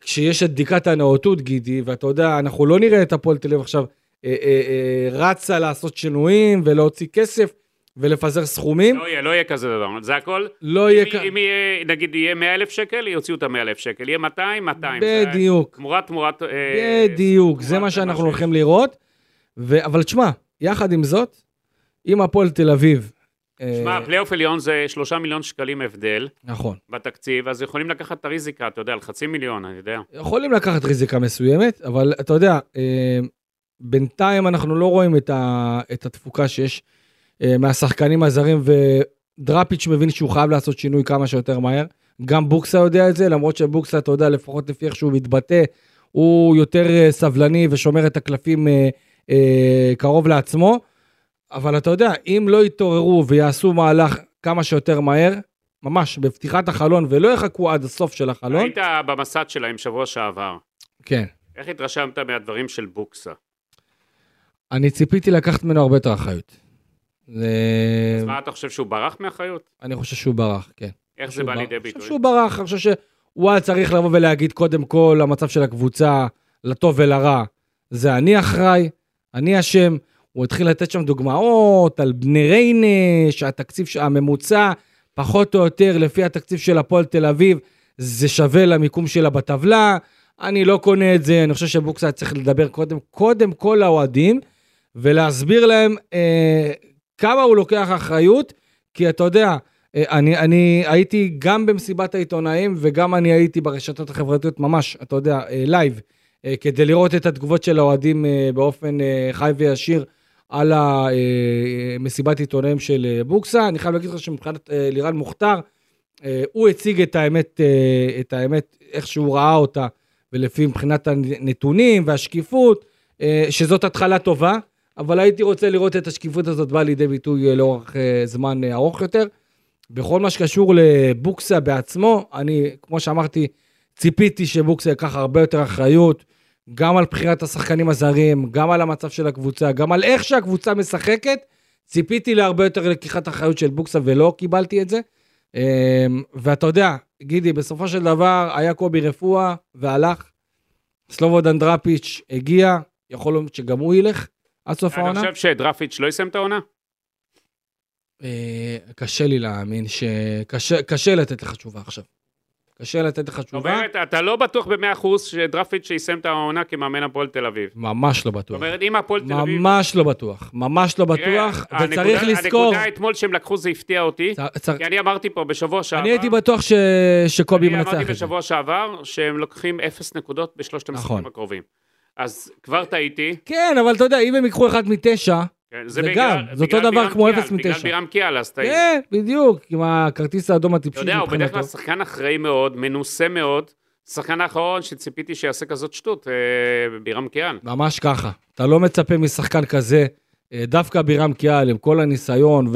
S2: כשיש את בדיקת הנאותות, גידי, ואתה יודע, אנחנו לא נראה את הפועל תל אביב עכשיו אה, אה, אה, רצה לעשות שינויים ולהוציא כסף ולפזר סכומים,
S3: לא יהיה, לא יהיה כזה דבר, זה הכל.
S2: לא יהיה
S3: אם-
S2: כאן.
S3: אם יהיה, נגיד יהיה 100 אלף שקל, יוציאו את ה-100 אלף שקל, יהיה 200, 200. זה
S2: בדיוק.
S3: תמורת תמורת... אה,
S2: בדיוק, זה
S3: תמורת
S2: מה שאנחנו
S3: אה, שיש.
S2: הולכים לראות. ו... אבל תשמע, יחד עם זאת, אם הפועל תל אביב
S3: שמע,
S2: אה,
S3: פלייאוף עליון זה שלושה מיליון שקלים הבדל
S2: נכון.
S3: בתקציב, אז יכולים לקחת את הריזיקה, אתה יודע, על חצי מיליון, אני יודע.
S2: יכולים לקחת ריזיקה מסוימת, אבל אתה יודע, אה, בינתיים אנחנו לא רואים את, ה, את התפוקה שיש אה, מהשחקנים הזרים, ודראפיץ' מבין שהוא חייב לעשות שינוי כמה שיותר מהר. גם בוקסה יודע את זה, למרות שבוקסה, אתה יודע, לפחות לפי איך שהוא מתבטא, הוא יותר אה, סבלני ושומר את הקלפים אה, אה, קרוב לעצמו. אבל אתה יודע, אם לא יתעוררו ויעשו מהלך כמה שיותר מהר, ממש בפתיחת החלון, ולא יחכו עד הסוף של החלון,
S3: היית במסד שלהם שבוע שעבר.
S2: כן.
S3: איך התרשמת מהדברים של בוקסה?
S2: אה. אני ציפיתי לקחת ממנו הרבה יותר אחריות. זה...
S3: אז מה, אתה חושב שהוא ברח מאחריות?
S2: אני חושב שהוא ברח, כן.
S3: איך זה
S2: שהוא
S3: בא
S2: ברח.
S3: לידי
S2: אני
S3: ביטוי?
S2: חושב שהוא ברח, אני חושב שהוא היה צריך לבוא ולהגיד קודם כל, המצב של הקבוצה, לטוב ולרע, זה אני אחראי, אני אשם. הוא התחיל לתת שם דוגמאות על בני ריינה, שהתקציב ש- הממוצע, פחות או יותר, לפי התקציב של הפועל תל אביב, זה שווה למיקום שלה בטבלה. אני לא קונה את זה, אני חושב שבוקסה צריך לדבר קודם, קודם כל לאוהדים, ולהסביר להם אה, כמה הוא לוקח אחריות, כי אתה יודע, אה, אני, אני הייתי גם במסיבת העיתונאים וגם אני הייתי ברשתות החברתיות ממש, אתה יודע, אה, לייב, אה, כדי לראות את התגובות של האוהדים אה, באופן אה, חי וישיר על המסיבת עיתונאים של אה, בוקסה. אני חייב להגיד לך שמבחינת אה, לירן מוכתר, אה, הוא הציג את האמת, אה, את האמת, איך שהוא ראה אותה, ולפי מבחינת הנתונים והשקיפות, אה, שזאת התחלה טובה, אבל הייתי רוצה לראות את השקיפות הזאת באה לידי ביטוי אה, לאורך אה, זמן אה, ארוך יותר. בכל מה שקשור לבוקסה בעצמו, אני, כמו שאמרתי, ציפיתי שבוקסה ייקח הרבה יותר אחריות, גם על בחירת השחקנים הזרים, גם על המצב של הקבוצה, גם על איך שהקבוצה משחקת. ציפיתי להרבה יותר לקיחת אחריות של בוקסה ולא קיבלתי את זה. אמ, ואתה יודע, גידי, בסופו של דבר היה קובי רפואה והלך. סלובודן דראפיץ' הגיע, יכול להיות שגם הוא ילך עד סוף
S3: אני
S2: העונה.
S3: חושב שדרפיץ' לא יסיים את העונה?
S2: אה, קשה לי להאמין ש... קשה, קשה לתת לך תשובה עכשיו. קשה לתת לך
S3: זאת
S2: תשובה,
S3: אומרת, אתה לא בטוח ב-100% שדרפיץ' יסיים את העונה כמאמן הפועל תל אביב.
S2: ממש לא
S3: זאת
S2: בטוח.
S3: אומרת, אם הפועל תל אביב...
S2: ממש לא בטוח. ממש לא
S3: תראה,
S2: בטוח,
S3: הנקודה-
S2: וצריך לזכור...
S3: הנקודה אתמול שהם לקחו זה הפתיע אותי,
S2: צר- צר-
S3: כי אני אמרתי פה בשבוע שעבר...
S2: אני הייתי בטוח ש- שקובי
S3: אה? אני
S2: מנצח
S3: אמרתי
S2: את זה.
S3: בשבוע שעבר שהם לוקחים אפס נקודות בשלושת המשחקים
S2: נכון.
S3: הקרובים. אז כבר טעיתי.
S2: כן, אבל אתה יודע, אם הם ייקחו אחד מתשע,
S3: כן,
S2: זה
S3: בגלל-
S2: גם, זה
S3: בגלל
S2: אותו דבר
S3: בירם
S2: כמו
S3: קיאל,
S2: אפס
S3: בגלל
S2: מתשע.
S3: בירם קיאל, אז טעיתי.
S2: כן, בדיוק, עם הכרטיס האדום
S3: אתה
S2: הטיפשי
S3: יודע, הוא בדרך כלל
S2: מבחינתו.
S3: שחקן אחראי מאוד, מנוסה מאוד. שחקן האחרון שציפיתי שיעשה כזאת שטות, אה, בירם קיאל.
S2: ממש ככה. אתה לא מצפה משחקן כזה, אה, דווקא בירם קיאל, עם כל הניסיון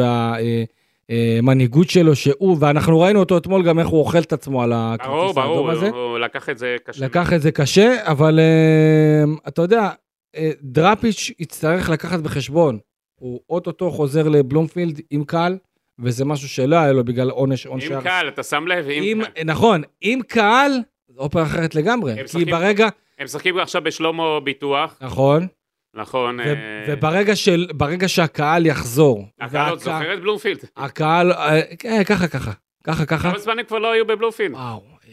S2: והמנהיגות שלו, שהוא, ואנחנו ראינו אותו אתמול גם איך הוא אוכל את עצמו על
S3: ברור,
S2: הכרטיס האדום
S3: ברור,
S2: הזה.
S3: הוא לקח את זה קשה.
S2: לקח את זה קשה, אבל אה, אתה יודע, אה, דראפיץ' יצטרך לקחת בחשבון. הוא אוטוטו חוזר לבלומפילד עם קהל, וזה משהו שלא היה לו בגלל עונש עונשי
S3: עם קהל, אתה שם לב, עם
S2: אם,
S3: קהל.
S2: נכון, עם קהל, זו אופרה אחרת לגמרי.
S3: הם
S2: כי
S3: משחקים-
S2: ברגע,
S3: הם משחקים עכשיו בשלומו ביטוח,
S2: נכון,
S3: נכון.
S2: ו-
S3: אה,
S2: וברגע של, ברגע שהקהל יחזור,
S3: הקהל עוד
S2: והקה-
S3: לא זוכר את בלומפילד.
S2: הקהל, אה, כן, ככה, ככה, ככה, ככה,
S3: כמה זמן הם כבר לא היו בבלומפילד?
S2: וואו, אה,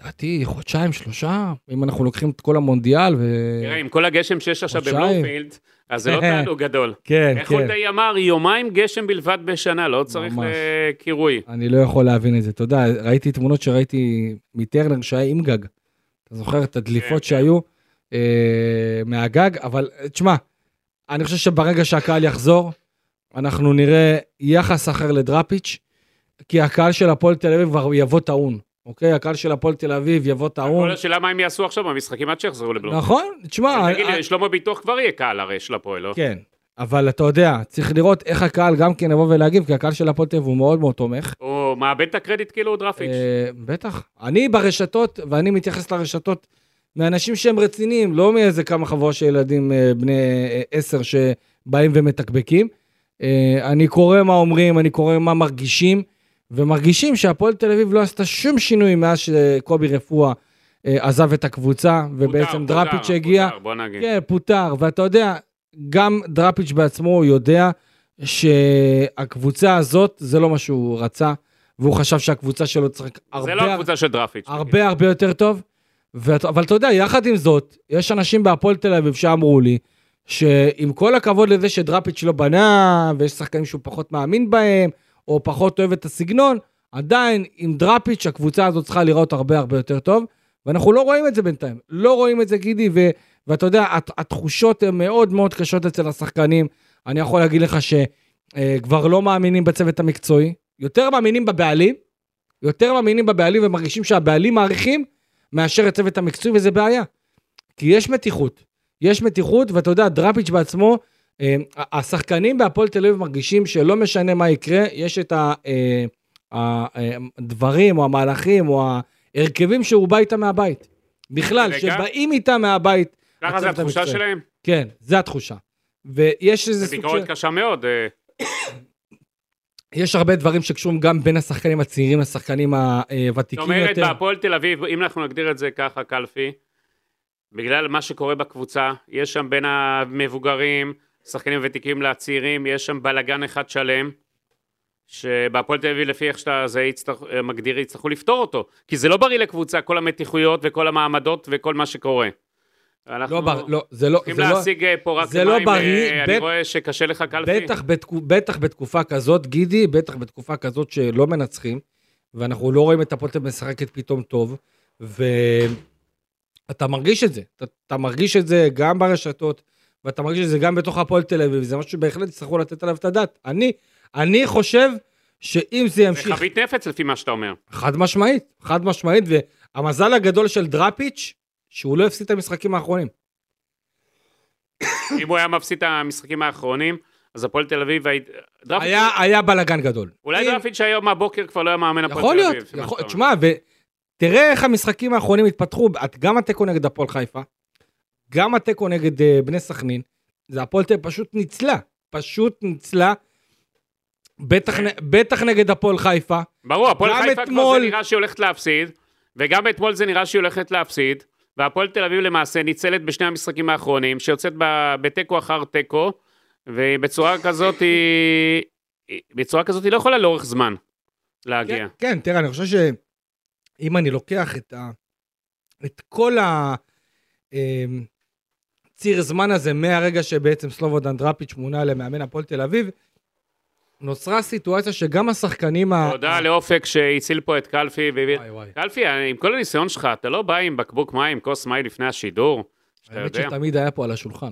S2: לדעתי חודשיים, שלושה, אם אנחנו לוקחים את כל המונדיאל, ו...
S3: תראה, עם כל הגשם שיש עכשיו
S2: אה. חודשיים. אה,
S3: בבלומפילד, אז זה לא תענוג גדול.
S2: כן,
S3: איך
S2: כן.
S3: חולדאי אמר, יומיים גשם בלבד בשנה, לא צריך
S2: ממש.
S3: אה, קירוי.
S2: אני לא יכול להבין את זה. אתה יודע, ראיתי תמונות שראיתי מטרנר שהיה עם גג. אתה זוכר את
S3: כן,
S2: הדליפות
S3: כן.
S2: שהיו אה, מהגג? אבל אה, תשמע, אני חושב שברגע שהקהל יחזור, אנחנו נראה יחס אחר לדראפיץ', כי הקהל של הפועל תל אביב כבר יבוא טעון, אוקיי? הקהל של הפועל תל אביב יבוא טעון.
S3: כל השאלה מה הם יעשו עכשיו במשחקים עד שיחזרו לבלומפילד.
S2: נכון, תשמע...
S3: כן, תגיד
S2: אה,
S3: לי, שלמה ביטוח כבר יהיה קהל הרי של הפועל, לא?
S2: כן, אבל אתה יודע, צריך לראות איך הקהל גם כן יבוא ולהגיב, כי הקהל של הפועל תל אביב הוא מאוד מאוד תומך.
S3: הוא מאבד את הקרדיט כאילו הוא דרפיץ'.
S2: אה, בטח. אני ברשתות, ואני מתייחס לרשתות מאנשים שהם רציניים, לא מאיזה כמה חבורה של ילדים אה, בני אה, עשר שבאים ומתקבקים. אה, אני קורא מה אומרים, אני קורא מה מרגישים, ומרגישים שהפועל תל אביב לא עשתה שום שינוי מאז שקובי רפואה אה, עזב את הקבוצה,
S3: פוטר,
S2: ובעצם דראפיץ'
S3: פוטר,
S2: הגיע.
S3: פוטר, בוא נגיד.
S2: כן, פוטר, ואתה יודע, גם דראפיץ' בעצמו יודע שהקבוצה הזאת, זה לא מה שהוא רצה, והוא חשב שהקבוצה שלו צריכה
S3: זה
S2: הרבה,
S3: לא הקבוצה של דרפיץ'. נגיד.
S2: הרבה הרבה יותר טוב. ואת, אבל אתה יודע, יחד עם זאת, יש אנשים בהפועל תל אביב שאמרו לי, שעם כל הכבוד לזה שדראפיץ' לא בנה, ויש שחקנים שהוא פחות מאמין בהם, או פחות אוהב את הסגנון, עדיין עם דראפיץ' הקבוצה הזאת צריכה להיראות הרבה הרבה יותר טוב, ואנחנו לא רואים את זה בינתיים. לא רואים את זה, גידי, ו- ואתה יודע, הת- התחושות הן מאוד מאוד קשות אצל השחקנים. אני יכול להגיד לך שכבר לא מאמינים בצוות המקצועי, יותר מאמינים בבעלים, יותר מאמינים בבעלים ומרגישים שהבעלים מעריכים מאשר הצוות המקצועי, וזה בעיה. כי יש מתיחות. יש מתיחות, ואתה יודע, דראפיץ' בעצמו, אה, השחקנים בהפועל תל אביב מרגישים שלא משנה מה יקרה, יש את ה- אה, ה- אה, הדברים או המהלכים או ההרכבים שהוא בא איתם מהבית. בכלל,
S3: רגע.
S2: שבאים איתם מהבית.
S3: ככה זה
S2: הצוות
S3: התחושה
S2: המקצועי.
S3: שלהם?
S2: כן, זה התחושה. ויש איזה
S3: זו
S2: סוג
S3: ביקורת
S2: של...
S3: קשה מאוד. אה,
S2: יש הרבה דברים שקשורים גם בין השחקנים הצעירים לשחקנים אה,
S3: זאת
S2: הוותיקים
S3: אומרת,
S2: יותר.
S3: בהפועל תל אביב, אם אנחנו נגדיר את זה ככה, קלפי, בגלל מה שקורה בקבוצה, יש שם בין המבוגרים, שחקנים ותיקים לצעירים, יש שם בלאגן אחד שלם, שבהפועל תל אביב, לפי איך שאתה זה יצטרך, מגדיר, יצטרכו לפתור אותו. כי זה לא בריא לקבוצה, כל המתיחויות וכל המעמדות וכל מה שקורה. אנחנו
S2: לא, בר- לא, זה לא...
S3: צריכים
S2: זה לא-
S3: להשיג אה, פה רק
S2: זה לא
S3: מים,
S2: בריא,
S3: אה, אני
S2: בט-
S3: רואה שקשה לך, קלפי.
S2: בטח, בתקו, בטח בתקופה כזאת, גידי, בטח בתקופה כזאת שלא מנצחים, ואנחנו לא רואים את הפוטל משחקת פתאום טוב, ואתה מרגיש את זה. אתה, אתה מרגיש את זה גם ברשתות, ואתה מרגיש את זה גם בתוך הפועל תל אביב, זה משהו שבהחלט יצטרכו לתת עליו את הדעת. אני, אני חושב שאם זה
S3: זה
S2: ימשיך...
S3: חבית נפץ לפי מה שאתה אומר.
S2: חד משמעית, חד משמעית, והמזל הגדול של דראפיץ', שהוא לא הפסיד את המשחקים האחרונים.
S3: אם הוא היה מפסיד את המשחקים האחרונים, אז הפועל תל אביב, היית- דראפיץ'-
S2: היה, היה בלאגן גדול.
S3: אולי
S2: אם-
S3: דראפיץ' היום הבוקר כבר לא היה מאמן הפועל תל
S2: יכול
S3: אביב.
S2: להיות,
S3: זה מה
S2: יכול-
S3: שאתה אומר.
S2: תשמע, ותראה איך המשחקים האחרונים התפתחו, את- גם התיקו נגד הפועל חיפה, גם התיקו נגד אה, בני סכנין, זה הפועל תל אביב פשוט ניצלה, פשוט ניצלה, בטח נ- בטח נגד הפועל חיפה,
S3: ברור, הפועל
S2: גם
S3: חיפה כבר
S2: אתמול-
S3: זה נראה שהיא הולכת להפסיד, וגם אתמול זה נראה שהיא הולכת להפסיד, והפועל תל אביב למעשה ניצלת בשני המשחקים האחרונים, שיוצאת ב- בתיקו אחר תיקו, ובצורה כזאת היא... היא- בצורה כזאת היא לא יכולה לאורך זמן להגיע.
S2: כן, כן, תראה, אני חושב שאם אני לוקח את, ה... את כל ה... אמ, ציר זמן הזה מהרגע שבעצם סלובודן דראפיץ' מונה למאמן הפועל תל אביב, נוצרה סיטואציה שגם השחקנים ה...
S3: תודה לאופק שהציל פה את קלפי. והביא-
S2: וואי, וואי.
S3: קלפי, אני- עם כל הניסיון שלך, אתה לא בא עם בקבוק מים, כוס מים לפני השידור? שאתה
S2: האמת
S3: יודע? אה,
S2: שתמיד היה פה על השולחן,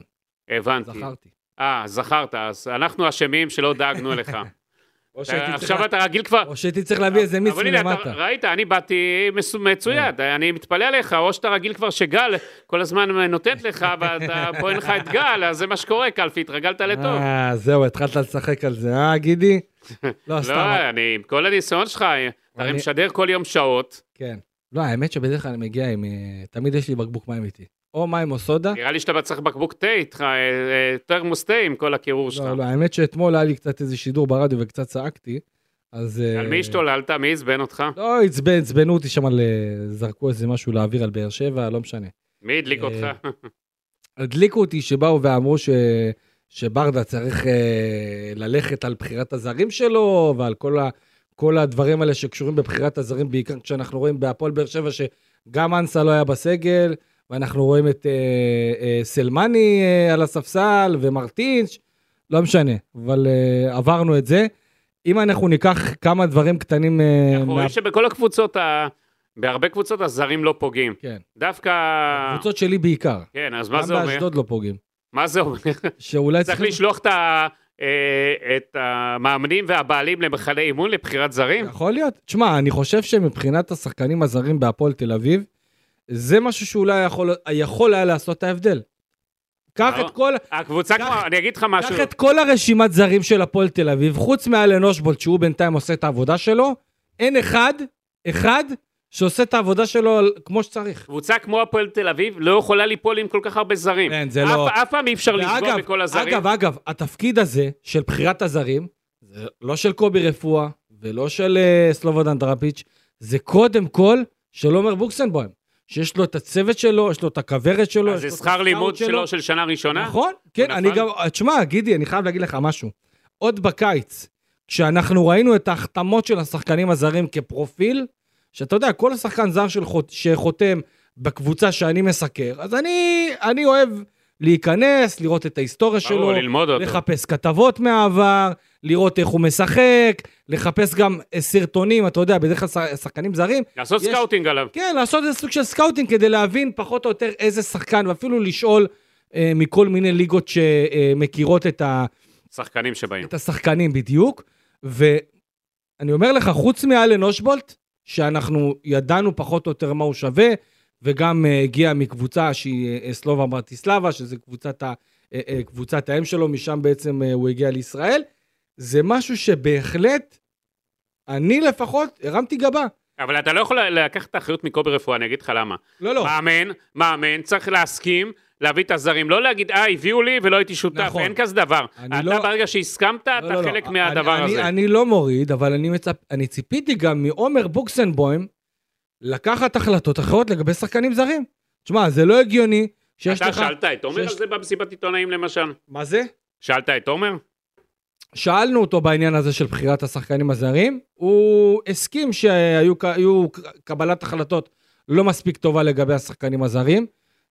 S3: הבנתי.
S2: זכרתי.
S3: אה, זכרת, אז אנחנו אשמים שלא דאגנו לך.
S2: או
S3: אתה-
S2: שהייתי צריך-
S3: עכשיו אתה רגיל כבר...
S2: או שהייתי צריך להביא איזה מיץ
S3: אבל הנה, אתה
S2: מלמטה. כן.
S3: ראית, אני באתי מס- מצויד, אני מתפלא עליך, או שאתה רגיל כבר שגל כל הזמן נותנת לך, ואתה פה אין לך את גל, אז זה מה שקורה, קלפי, התרגלת לטוב.
S2: אה, זהו, התחלת לשחק על זה, אה, גידי? לא, סתם,
S3: לא, אני, עם כל הניסיון שלך, אה, אתה הרי
S2: אני-
S3: משדר כל יום שעות,
S2: כן. לא, האמת שבדרך כלל אני מגיע עם... אה, תמיד יש לי בקבוק מים איתי. או מים או סודה.
S3: נראה לי שאתה צריך בקבוק תה איתך, אה, אה, תרמוס תה עם כל הקירור שלך.
S2: לא, לא, האמת שאתמול היה לי קצת איזה שידור ברדיו וקצת צעקתי, אז... אה,
S3: על מי השתוללת? מי עצבן אותך?
S2: לא, עצבן, עצבנו אותי שם על... אה, זרקו איזה משהו לאוויר על באר שבע, לא משנה.
S3: מי הדליק
S2: אה,
S3: אותך?
S2: הדליקו אותי שבאו ואמרו ש... שברדה צריך אה, ללכת על בחירת הזרים שלו ועל כל, ה... כל הדברים האלה שקשורים בבחירת הזרים, בעיקר כשאנחנו רואים בהפועל באר שבע שגם אנסה לא היה בסגל, ואנחנו רואים את אה, אה, סלמני אה, על הספסל ומרטינש, לא משנה, אבל אה, עברנו את זה. אם אנחנו ניקח כמה דברים קטנים... אה,
S3: אנחנו רואים שבכל הקבוצות, ה- בהרבה קבוצות הזרים לא פוגעים.
S2: כן,
S3: דווקא...
S2: קבוצות שלי בעיקר.
S3: כן, אז מה זה
S2: גם
S3: אומר?
S2: באשדוד לא פוגעים.
S3: מה זה אומר?
S2: שאולי
S3: צריך לשלוח את ה- אה, את המאמנים והבעלים למחנה אימון לבחירת זרים?
S2: יכול להיות. תשמע, אני חושב שמבחינת השחקנים הזרים בהפועל תל אביב, זה משהו שאולי יכול, יכול היה לעשות את ההבדל. קח
S3: לא.
S2: את כל,
S3: הקבוצה
S2: קח-
S3: כבר, אני אגיד לך משהו.
S2: קח את כל הרשימת זרים של הפועל תל אביב, חוץ מאלן אושבולט, שהוא בינתיים עושה את העבודה שלו, אין אחד, אחד, שעושה את העבודה שלו על- כמו שצריך.
S3: קבוצה כמו הפועל תל אביב לא יכולה ליפול עם כל כך הרבה זרים.
S2: אין, זה
S3: אף-
S2: לא...
S3: אף פעם אי אפשר לפגוע בכל הזרים.
S2: אגב, אגב, התפקיד הזה של בחירת הזרים, זה לא של קובי רפואה ולא של אה, סלובודן דראפיץ', זה קודם כל של עומר בוקסנבוים, שיש לו את הצוות שלו, יש לו את הכוורת שלו,
S3: אז
S2: לא יש לו
S3: זה
S2: את
S3: שכר
S2: הסקאוט
S3: לימוד שלו של שנה ראשונה?
S2: נכון, כן,
S3: הוא
S2: אני
S3: נפל?
S2: גם... תשמע, גידי, אני חייב להגיד לך משהו. עוד בקיץ, כשאנחנו ראינו את ההחתמות של השחקנים הזרים כפרופיל, שאתה יודע, כל שחקן זר של חוט, שחותם בקבוצה שאני מסקר, אז אני, אני אוהב להיכנס, לראות את ההיסטוריה שלו,
S3: ברור, ללמוד אותו.
S2: לחפש כתבות מהעבר, לראות איך הוא משחק, לחפש גם אה, סרטונים, אתה יודע, בדרך כלל ש- שחקנים זרים.
S3: לעשות
S2: יש-
S3: סקאוטינג עליו.
S2: כן, לעשות איזה סוג של סקאוטינג כדי להבין פחות או יותר איזה שחקן, ואפילו לשאול אה, מכל מיני ליגות שמכירות את, ה,
S3: שחקנים שבאים.
S2: את השחקנים בדיוק. ואני אומר לך, חוץ מאלן אושבולט, שאנחנו ידענו פחות או יותר מה הוא שווה, וגם אה, הגיע מקבוצה שהיא אה, סלובה ברטיסלבה, שזה קבוצת, ה, אה, אה, קבוצת האם שלו, משם בעצם אה, הוא הגיע לישראל. זה משהו שבהחלט, אני לפחות הרמתי גבה.
S3: אבל אתה לא יכול לקחת את האחריות מקובי רפואה, אני אגיד לך למה.
S2: לא, לא.
S3: מאמן, מאמן, צריך להסכים, להביא את הזרים. לא להגיד, אה, הביאו לי ולא הייתי שותף,
S2: נכון.
S3: אין כזה דבר.
S2: אני
S3: אתה
S2: לא-
S3: ברגע שהסכמת,
S2: לא,
S3: אתה
S2: לא, לא.
S3: חלק
S2: אני-
S3: מהדבר
S2: אני-
S3: הזה.
S2: אני לא מוריד, אבל אני מצפ... אני ציפיתי גם מעומר בוקסנבוים לקחת החלטות אחרות לגבי שחקנים זרים. תשמע, זה לא הגיוני שיש
S3: אתה
S2: לך...
S3: שאלת את עומר על
S2: שיש-
S3: זה במסיבת עיתונאים למשל?
S2: מה זה?
S3: שאלת את עומר?
S2: שאלנו אותו בעניין הזה של בחירת השחקנים הזרים, הוא הסכים שהיו ק- היו ק- קבלת החלטות לא מספיק טובה לגבי השחקנים הזרים.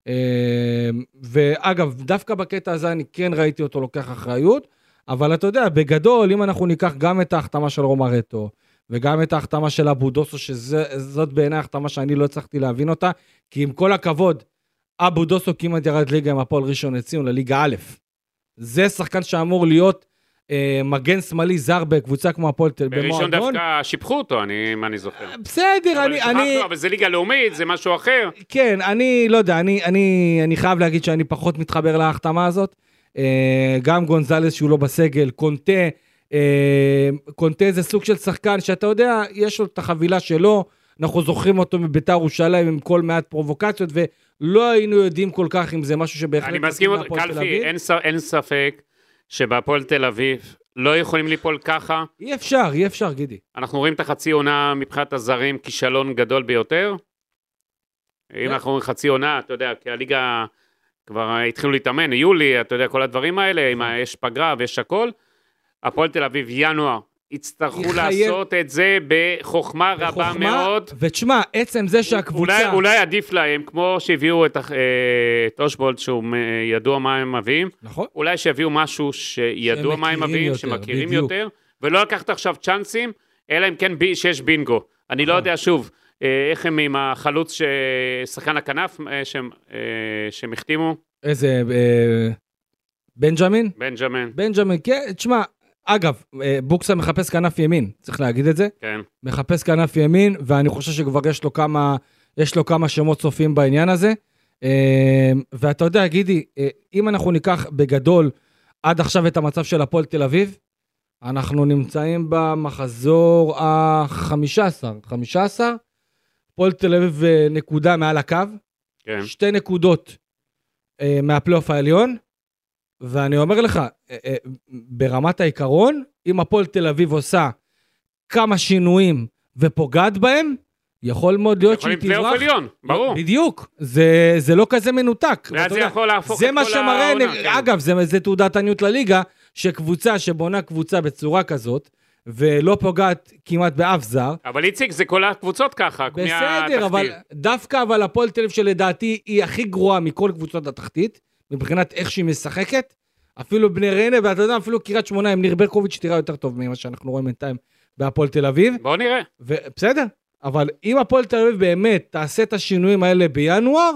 S2: אה, ואגב, דווקא בקטע הזה אני כן ראיתי אותו לוקח אחריות, אבל אתה יודע, בגדול, אם אנחנו ניקח גם את ההחתמה של רומרטו, וגם את ההחתמה של אבו דוסו, שזאת בעיניי החתמה שאני לא הצלחתי להבין אותה, כי עם כל הכבוד, אבו דוסו כמעט ירד ליגה עם הפועל ראשון לציון לליגה א'. זה שחקן שאמור להיות אה, מגן שמאלי זר בקבוצה כמו הפועל תל אביב.
S3: בראשון
S2: במועדון.
S3: דווקא שיבחו אותו, אני- אם אני זוכר.
S2: בסדר,
S3: אבל
S2: אה, אני...
S3: שכחנו,
S2: אני...
S3: אבל זה ליגה לאומית, זה משהו אחר.
S2: כן, אני לא יודע, אני, אני, אני חייב להגיד שאני פחות מתחבר להחתמה הזאת. אה, גם גונזלס שהוא לא בסגל, קונטה, אה, קונטה זה סוג של שחקן שאתה יודע, יש לו את החבילה שלו, אנחנו זוכרים אותו מביתר ירושלים עם כל מעט פרובוקציות, ולא היינו יודעים כל כך אם זה משהו שבהחלט...
S3: אני
S2: מתאים
S3: מסכים, עוד-
S2: להפועל תל
S3: קלפי,
S2: אביב.
S3: אין ס- אין ספק שבהפועל תל אביב לא יכולים ליפול ככה.
S2: אי אפשר, אי אפשר, גידי.
S3: אנחנו רואים את החצי עונה מבחינת הזרים, כישלון גדול ביותר. אם
S2: כן.
S3: אנחנו אומרים חצי עונה, אתה יודע, כי הליגה כבר התחילו להתאמן, יולי, אתה יודע, כל הדברים האלה, עם
S2: נכון.
S3: ה- יש פגרה ויש הכל. הפועל תל אביב, ינואר, יצטרכו
S2: היא חייב-
S3: לעשות את זה בחוכמה רבה
S2: בחוכמה,
S3: מאוד.
S2: ותשמע, עצם זה שהקבוצה...
S3: אולי, אולי עדיף להם, כמו שהביאו את, הח- אה, את אושבולד, שהוא מ- ידוע מה הם מביאים,
S2: נכון?
S3: אולי שיביאו משהו שידוע מה הם
S2: שמכירים
S3: מביאים,
S2: יותר,
S3: שמכירים
S2: בדיוק.
S3: יותר, ולא לקחת עכשיו צ'אנסים, אלא אם כן בי, שיש בינגו. אני לא
S2: נכון.
S3: יודע, שוב, אה, איך הם עם החלוץ, ש... שחקן הכנף אה, שהם, אה, שהם החתימו,
S2: איזה... אה, בנג'מין?
S3: בנג'מן,
S2: בנג'מין, כן, תשמע, אגב, אה, בוקסה מחפש כנף ימין, צריך להגיד את זה.
S3: כן.
S2: מחפש כנף ימין, ואני חושב שכבר יש לו כמה, יש לו כמה שמות צופים בעניין הזה. אה, ואתה יודע, גידי, אה, אם אנחנו ניקח בגדול עד עכשיו את המצב של הפועל תל אביב, אנחנו נמצאים במחזור ה-15, 15, הפועל תל אביב אה, נקודה מעל הקו,
S3: כן.
S2: שתי נקודות אה, מהפלייאוף העליון, ואני אומר לך, אה, אה, ברמת העיקרון, אם הפועל תל אביב עושה כמה שינויים ופוגעת בהם, יכול מאוד להיות שהיא
S3: יכולים פלייאוף
S2: תברח.
S3: עליון, ברור.
S2: בדיוק, זה, זה לא כזה מנותק.
S3: ואז
S2: אתה
S3: זה
S2: יודע,
S3: יכול להפוך את
S2: זה מה
S3: כל
S2: שמראה,
S3: העונה, כן.
S2: אגב, זה, זה תעודת עניות לליגה, שקבוצה שבונה קבוצה בצורה כזאת, ולא פוגעת כמעט באף זר,
S3: אבל איציק, זה כל הקבוצות ככה,
S2: בסדר, אבל
S3: מהתחתית.
S2: דווקא אבל הפועל תל אביב שלדעתי היא הכי גרועה מכל קבוצות התחתית, מבחינת איך שהיא משחקת. אפילו בני ריינה, ואתה יודע, אפילו קריית שמונה עם ניר ברקוביץ' תראה יותר טוב ממה שאנחנו רואים בינתיים בהפועל תל אביב.
S3: בואו נראה.
S2: ובסדר, אבל אם הפועל תל אביב באמת תעשה את השינויים האלה בינואר,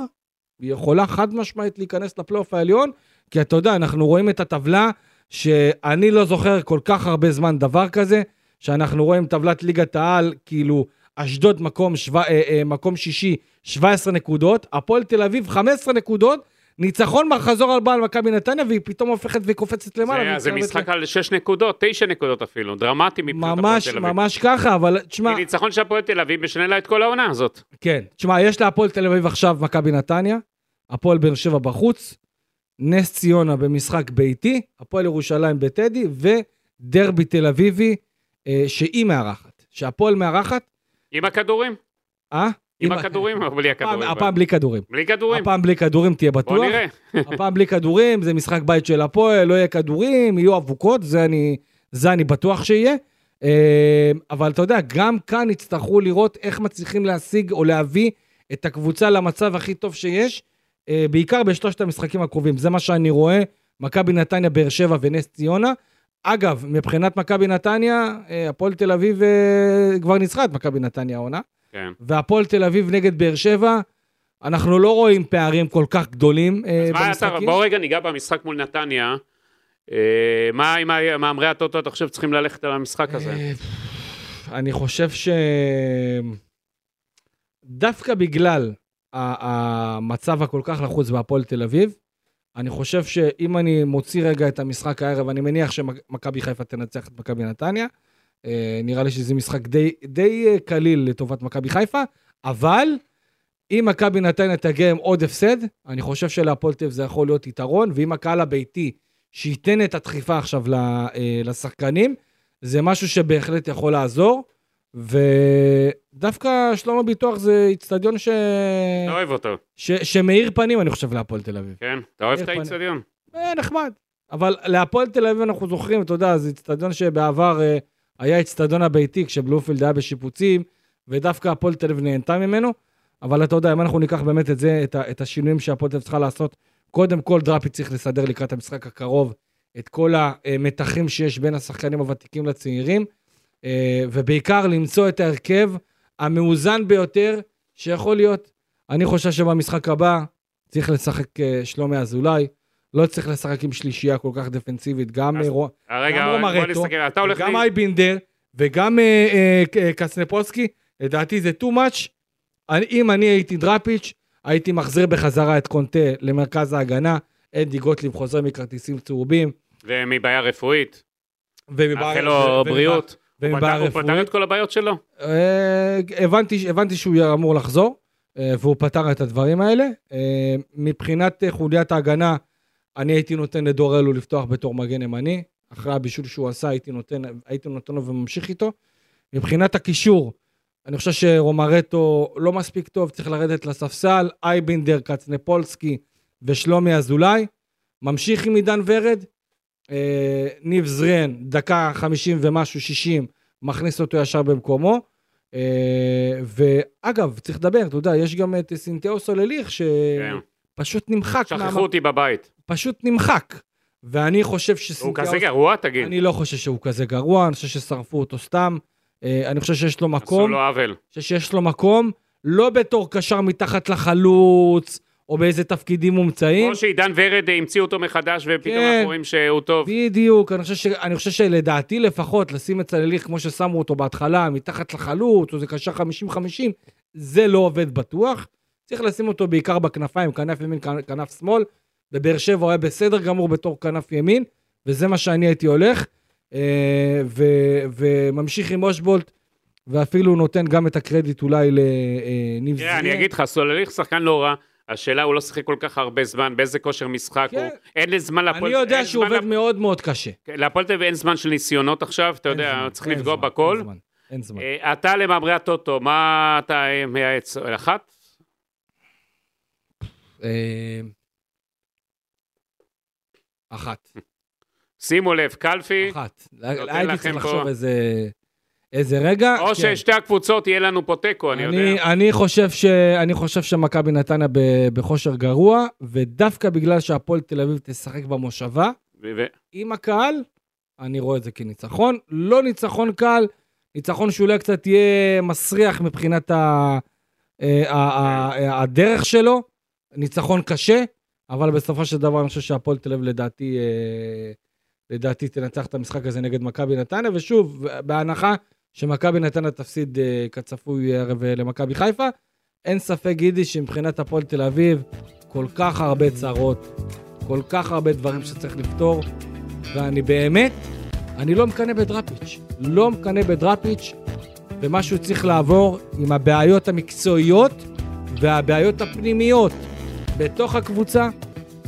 S2: היא יכולה חד משמעית להיכנס לפלייאוף העליון, כי אתה יודע, אנחנו רואים את הטבלה שאני לא זוכר כל כך הרבה זמן דבר כזה, שאנחנו רואים טבלת ליגת העל, כאילו, אשדוד מקום, שו... אה, אה, מקום שישי, 17 נקודות, הפועל תל אביב 15 נקודות, ניצחון מחזור ארבע על מכבי נתניה, והיא פתאום הופכת וקופצת למעלה.
S3: זה- זה
S2: ומתקרבת
S3: משחק
S2: ל-
S3: על 6 נקודות, 9 נקודות אפילו, דרמטי מבחינת הפועל
S2: ממש,
S3: תל אביב.
S2: ממש ככה, אבל תשמע...
S3: כי ניצחון של הפועל תל אביב משנה לה את כל העונה הזאת.
S2: כן. תשמע, יש להפועל תל אביב עכשיו מכבי נתניה, הפועל באר שבע בחוץ, נס ציונה במשחק ביתי, הפועל ירושלים בטדי, ודרבי תל אביבי אה, שהיא מארחת. שהפועל מארחת,
S3: עם הכדורים?
S2: אה?
S3: עם הכדורים או בלי
S2: הפעם,
S3: הכדורים?
S2: הפעם בלי כדורים.
S3: בלי כדורים.
S2: הפעם בלי כדורים תהיה בטוח.
S3: בוא נראה.
S2: הפעם בלי כדורים, זה משחק בית של הפועל, לא יהיה כדורים, יהיו אבוקות, זה אני, זה אני בטוח שיהיה. אה, אבל אתה יודע, גם כאן יצטרכו לראות איך מצליחים להשיג או להביא את הקבוצה למצב הכי טוב שיש, אה, בעיקר בשלושת המשחקים הקרובים. זה מה שאני רואה, מכבי נתניה, באר שבע ונס ציונה. אגב, מבחינת מכבי נתניה, אה, הפועל תל אביב אה, כבר ניצחה את מכבי נתניה העונה.
S3: כן.
S2: והפועל תל אביב נגד באר שבע, אנחנו לא רואים פערים כל כך גדולים אה,
S3: אז מה אתה,
S2: במשחקים.
S3: בוא רגע ניגע במשחק מול נתניה. אה, מה עם ה- מאמרי הטוטו, אתה חושב צריכים ללכת על המשחק הזה?
S2: אה, אני חושב ש... דווקא בגלל ה- המצב הכל כך לחוץ בהפועל תל אביב, אני חושב שאם אני מוציא רגע את המשחק הערב, אני מניח שמכבי חיפה תנצח את מכבי נתניה. אה, נראה לי שזה משחק די, די אה, קליל לטובת מכבי חיפה, אבל אם מכבי נתניה תגיע עם עוד הפסד, אני חושב שלהפועל תל אביב זה יכול להיות יתרון, ואם הקהל הביתי שייתן את הדחיפה עכשיו ל- אה, לשחקנים, זה משהו שבהחלט יכול לעזור, ודווקא שלמה ביטוח זה איצטדיון ש...
S3: אתה אוהב אותו,
S2: ש... שמאיר פנים, אני חושב, להפועל תל אביב.
S3: כן? אתה אוהב
S2: איך
S3: את
S2: פנה?
S3: האיצטדיון?
S2: אה, נחמד. אבל להפועל תל אביב אנחנו זוכרים, אתה יודע, זה איצטדיון שבעבר אה, היה איצטדיון הביתי, כשבלומפילד היה בשיפוצים, ודווקא הפועל תל אביב נהנתה ממנו. אבל אתה יודע, אם אנחנו ניקח באמת את זה, את, ה- את השינויים שהפועל תל אביב צריכה לעשות, קודם כל דראפי צריך לסדר לקראת המשחק הקרוב את כל המתחים שיש בין השחקנים הוותיקים לצעירים, אה, ובעיקר למצוא את ההרכב המאוזן ביותר שיכול להיות. אני חושב שבמשחק הבא צריך לשחק אה, שלומי אזולאי, לא צריך לשחק עם שלישייה כל כך דפנסיבית, גם
S3: אז-
S2: אה, רו-
S3: אה, רגע,
S2: גם
S3: בוא
S2: רומרטו,
S3: נסתכל, אתה הולך...
S2: גם
S3: לי-
S2: אייבינדר וגם אה, אה, ק- אה, קסנפולסקי, לדעתי זה too much. אני, אם אני הייתי דראפיץ', הייתי מחזיר בחזרה את קונטה למרכז ההגנה, אדי גוטליב חוזר מכרטיסים צהובים,
S3: ומבעיה רפואית,
S2: ומבעיה...
S3: נאחל לו
S2: ומבעיה-
S3: בריאות. הוא
S2: ומבעיה
S3: פתר- הוא פתר
S2: רפואית.
S3: את כל הבעיות שלו.
S2: אה, הבנתי, הבנתי שהוא יהיה אמור לחזור, אה, והוא פתר את הדברים האלה. אה, מבחינת אה, חוליית ההגנה, אני הייתי נותן לדור אלו לפתוח בתור מגן ימני. אחרי הבישול שהוא עשה, הייתי נותן, הייתי נותן לו וממשיך איתו. מבחינת הקישור, אני חושב שרומרטו לא מספיק טוב, צריך לרדת לספסל. אייבינדר, קצנפולסקי ושלומי אזולאי. ממשיך עם עידן ורד. אה, ניב זרן, דקה 50 ומשהו, 60, מכניס אותו ישר במקומו. אה, ואגב, צריך לדבר, אתה יודע, יש גם את סינתאו סולליך,
S3: כן.
S2: שפשוט נמחק.
S3: שכחו
S2: מהמ-
S3: אותי בבית.
S2: פשוט נמחק. ואני חושב
S3: הוא
S2: שסינתיאוס...
S3: כזה גרוע, תגיד.
S2: אני לא חושב שהוא כזה גרוע, אני חושב ששרפו אותו סתם. אה, אני חושב שיש לו
S3: עשו
S2: מקום,
S3: לו עוול.
S2: אני חושב שיש לו מקום, לא בתור קשר מתחת לחלוץ, או באיזה תפקידים מומצאים.
S3: כמו שעידן ורד המציאו אותו מחדש, ופתאום
S2: כן.
S3: אנחנו רואים שהוא טוב.
S2: בדיוק, אני חושב, ש... אני חושב שלדעתי לפחות, לשים את סלליך כמו ששמו אותו בהתחלה, מתחת לחלוץ, או זה קשר 50-50, זה לא עובד בטוח. צריך לשים אותו בעיקר בכנפיים, כנף ימין, כנ- כנף שמאל. בבאר שבע הוא היה בסדר גמור בתור כנף ימין, וזה מה שאני הייתי הולך. אה, ו... וממשיך עם אושבולט, ואפילו נותן גם את הקרדיט אולי אה, לניב
S3: תראה, אני אגיד לך, סולליך שחקן לא רע. השאלה, הוא לא שיחק כל כך הרבה זמן, באיזה כושר משחק
S2: כן.
S3: הוא. אין זמן להפועל...
S2: אני יודע
S3: אין
S2: שהוא
S3: זמן
S2: עובד מאוד מאוד קשה.
S3: להפועל תל אביב אין זמן של ניסיונות עכשיו, אתה
S2: אין
S3: יודע,
S2: זמן,
S3: צריך
S2: אין
S3: לפגוע
S2: זמן,
S3: בכל.
S2: אין זמן, אין זמן.
S3: אה, אתה למאמרי הטוטו, מה אתה אה, מייעץ? אחת?
S2: אה, אחת.
S3: שימו לב, קלפי,
S2: אחת.
S3: אוקיי. נותן
S2: הייתי
S3: לכם
S2: צריך לחשוב
S3: פה-
S2: איזה... איזה רגע.
S3: או
S2: כן.
S3: ששתי הקבוצות יהיה לנו פה תיקו, אני יודע.
S2: אני חושב ש... אני חושב שמכבי נתניה ב- בכושר גרוע, ודווקא בגלל שהפועל תל אביב תשחק במושבה,
S3: ו- ו-
S2: עם הקהל, אני רואה את זה כניצחון. לא ניצחון קל, ניצחון שאולי קצת יהיה מסריח מבחינת ה... אה, ה- ה- ה- הדרך שלו, ניצחון קשה, אבל בסופו של דבר אני חושב שהפועל תל אביב לדעתי, אה, לדעתי תנצח את המשחק הזה נגד מכבי נתניה, ושוב, בהנחה שמכבי נתניה תפסיד אה, כצפוי הערב אה, למכבי חיפה, אין ספק גידי שמבחינת הפועל תל אביב כל כך הרבה צרות, כל כך הרבה דברים שצריך לפתור, ואני באמת, אני לא מקנא בדראפיץ', לא מקנא בדראפיץ', ומה שהוא צריך לעבור עם הבעיות המקצועיות והבעיות הפנימיות בתוך הקבוצה,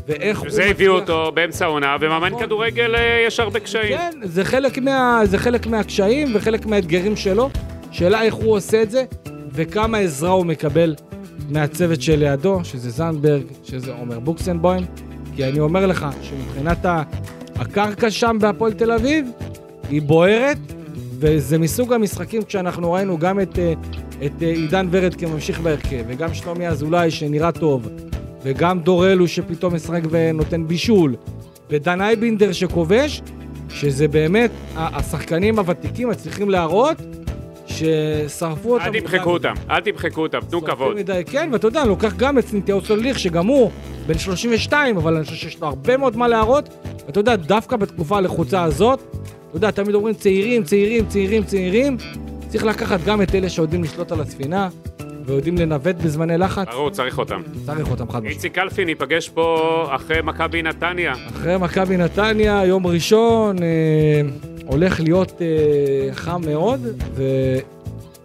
S2: ואיך הוא
S3: זה הביא
S2: מצליח-
S3: אותו באמצע העונה, ומאמן
S2: נכון.
S3: כדורגל אה, יש הרבה קשיים.
S2: כן, זה חלק, מה, זה חלק מהקשיים וחלק מהאתגרים שלו. שאלה איך הוא עושה את זה, וכמה עזרה הוא מקבל מהצוות שלידו, שזה זנדברג, שזה עומר בוקסנבוים. כי אני אומר לך שמבחינת ה- הקרקע שם בהפועל תל אביב, היא בוערת, וזה מסוג המשחקים כשאנחנו ראינו גם את, אה, את אה, עידן ורד כממשיך בהרכב, וגם שלומי אזולאי שנראה טוב, וגם דורל הוא שפתאום משחק ונותן בישול, ודן אייבינדר שכובש, שזה באמת, ה- השחקנים הוותיקים מצליחים להראות ששרפו אותם.
S3: אל תמחקו אותם, אל תמחקו אותם, תנו
S2: שורפים
S3: כבוד.
S2: מדי, כן, ואתה יודע, אני לוקח גם את סינתיאו סוליך, שגם הוא בן 32, אבל אני חושב שיש לו הרבה מאוד מה להראות. ואתה יודע, דווקא בתקופה הלחוצה הזאת, אתה יודע, תמיד אומרים צעירים, צעירים, צעירים, צעירים. צריך לקחת גם את אלה שיודעים לשלוט על הספינה, ויודעים לנווט בזמני לחץ.
S3: ברור, צריך אותם.
S2: צריך אותם חד משמעית.
S3: איציק אלפי ניפגש פה אחרי מכבי נתניה.
S2: אחרי מכבי נתניה, יום ראשון, אה, הולך להיות אה, חם מאוד,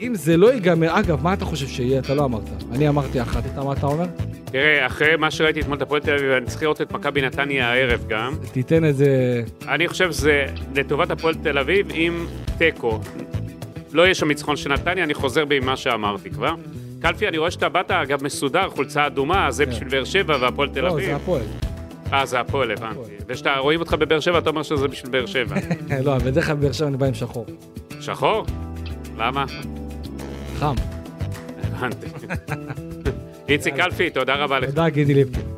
S2: ואם זה לא ייגמר, אגב, מה אתה חושב שיהיה? אתה לא אמרת. אני אמרתי אחת, אתה מה אתה אומר?
S3: תראה, אחרי מה שראיתי אתמול את הפועל תל אביב, אני צריך לראות את מכבי נתניה הערב גם.
S2: תיתן איזה...
S3: אני חושב שזה לטובת הפועל תל אביב עם תיקו. לא יהיה שם ניצחון של נתניה, אני חוזר בי ממה שאמרתי כבר. קלפי, אני רואה שאתה באת, אגב, מסודר, חולצה אדומה, זה
S2: כן.
S3: בשביל באר שבע והפועל תל
S2: לא,
S3: אביב.
S2: זה הפועל.
S3: אה, זה הפועל, הבנתי. ושאתה, רואים אותך בבאר שבע, אתה אומר שזה בשביל באר שבע.
S2: לא, בדרך כלל באר שבע אני בא עם שחור.
S3: שחור? למה?
S2: חם.
S3: הבנתי. איציק אלפי, תודה רבה לך.
S2: תודה, גידי ליפקין.